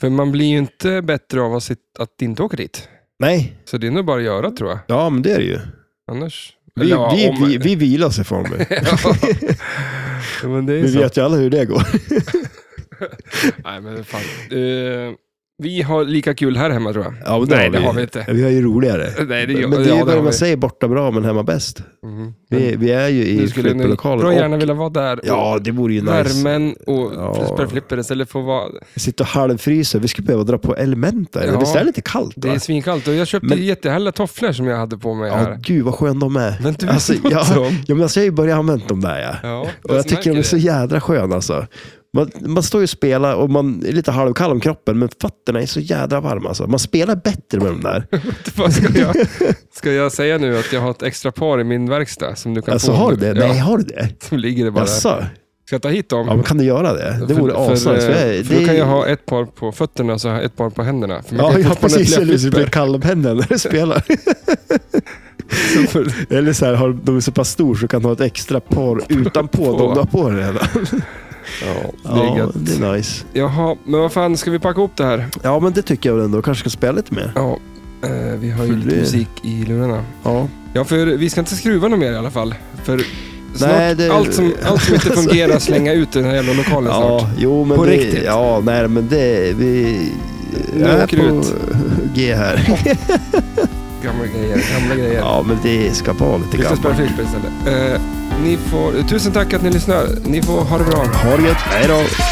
S1: För man blir ju inte bättre av att, sit, att inte åka dit.
S2: Nej,
S1: Så det är nog bara att göra tror jag.
S2: ja men det är det ju.
S1: Annars...
S2: Vi,
S1: Eller, ja,
S2: vi,
S1: om-
S2: vi, vi vilar sig från mig.
S1: ja, men det är
S2: Vi
S1: sant.
S2: vet ju alla hur det går.
S1: Nej, men fan. Eh, vi har lika kul här hemma tror jag.
S2: Ja, men
S1: Nej, det
S2: ju.
S1: har vi inte.
S2: Vi har ju roligare.
S1: Nej, det,
S2: Men
S1: gör-
S2: det är ju
S1: ja,
S2: vad
S1: har
S2: man
S1: vi.
S2: säger, borta bra men hemma bäst.
S1: Mm.
S2: Vi, vi är ju
S1: Du
S2: i
S1: skulle nog
S2: flipperlokalen.
S1: bra
S2: och-
S1: gärna vilja vara där. och-
S2: Ja, det vore ju nice.
S1: Värmen och
S2: Ja.
S1: spela flipper istället för att vara...
S2: Sitta och halvfrysa. Vi skulle behöva dra på elementa.
S1: Ja.
S2: Visst är det lite kallt?
S1: Det
S2: va?
S1: är svinkallt och jag köpte
S2: Men-
S1: jättehärliga tofflor som jag hade på mig
S2: Ja,
S1: här.
S2: gud vad skön de är.
S1: Men du har
S2: alltså,
S1: snott
S2: ja,
S1: dem.
S2: ja, men alltså, jag har ju börjat använda dem där. Ja.
S1: Ja,
S2: och jag tycker de är så jädra sköna. Alltså. Man, man står ju och spelar och man är lite halvkall om kroppen, men fötterna är så jädra varma. Alltså. Man spelar bättre med de där.
S1: Vad ska, jag, ska jag säga nu att jag har ett extra par i min verkstad som du kan
S2: Alltså,
S1: få?
S2: har du
S1: nu?
S2: det?
S1: Ja,
S2: Nej, har du det?
S1: som ligger det bara. där.
S2: Jaså?
S1: Ska jag ta hit dem?
S2: Ja, men kan du göra det? Det vore
S1: för, för,
S2: asnice. för jag-
S1: eh, för då
S2: det-
S1: kan jag ha ett par på fötterna och så har jag ett par på händerna. För man
S2: Ja,
S1: kan ju
S2: ja
S1: fortfarande
S2: precis.
S1: spela
S2: Eller så blir
S1: flipper.
S2: kall om händerna när du spelar. Eller så här, har, de är så pass stor så kan du ha ett extra par utanpå
S1: På.
S2: de du har på dig redan.
S1: Ja, det är
S2: Ja,
S1: gött.
S2: det är nice.
S1: Jaha, men vad fan, ska vi packa ihop det här?
S2: Ja, men det tycker jag väl ändå. Kanske ska spela lite mer.
S1: Ja, eh, vi har ju
S2: För
S1: lite
S2: det-
S1: musik i lurarna.
S2: Ja.
S1: Ja, för vi ska inte skruva något mer i alla fall. För Snart
S2: Nej, det-
S1: allt, som, allt som inte fungerar slänga ut i den här jävla lokalen
S2: Ja,
S1: snart.
S2: jo, men
S1: På
S2: det,
S1: riktigt.
S2: Ja, nej, men det... Vi,
S1: Nu
S2: jag är
S1: åker
S2: på
S1: du ut.
S2: G här.
S1: Gamla grejer, gamla grejer.
S2: Ja, men det ska vara lite
S1: Vi ska spela
S2: gammalt.
S1: flygspel istället. Eh, ni får, tusen tack att ni lyssnar. Ni får ha det bra.
S2: Ha det gött. Hej då.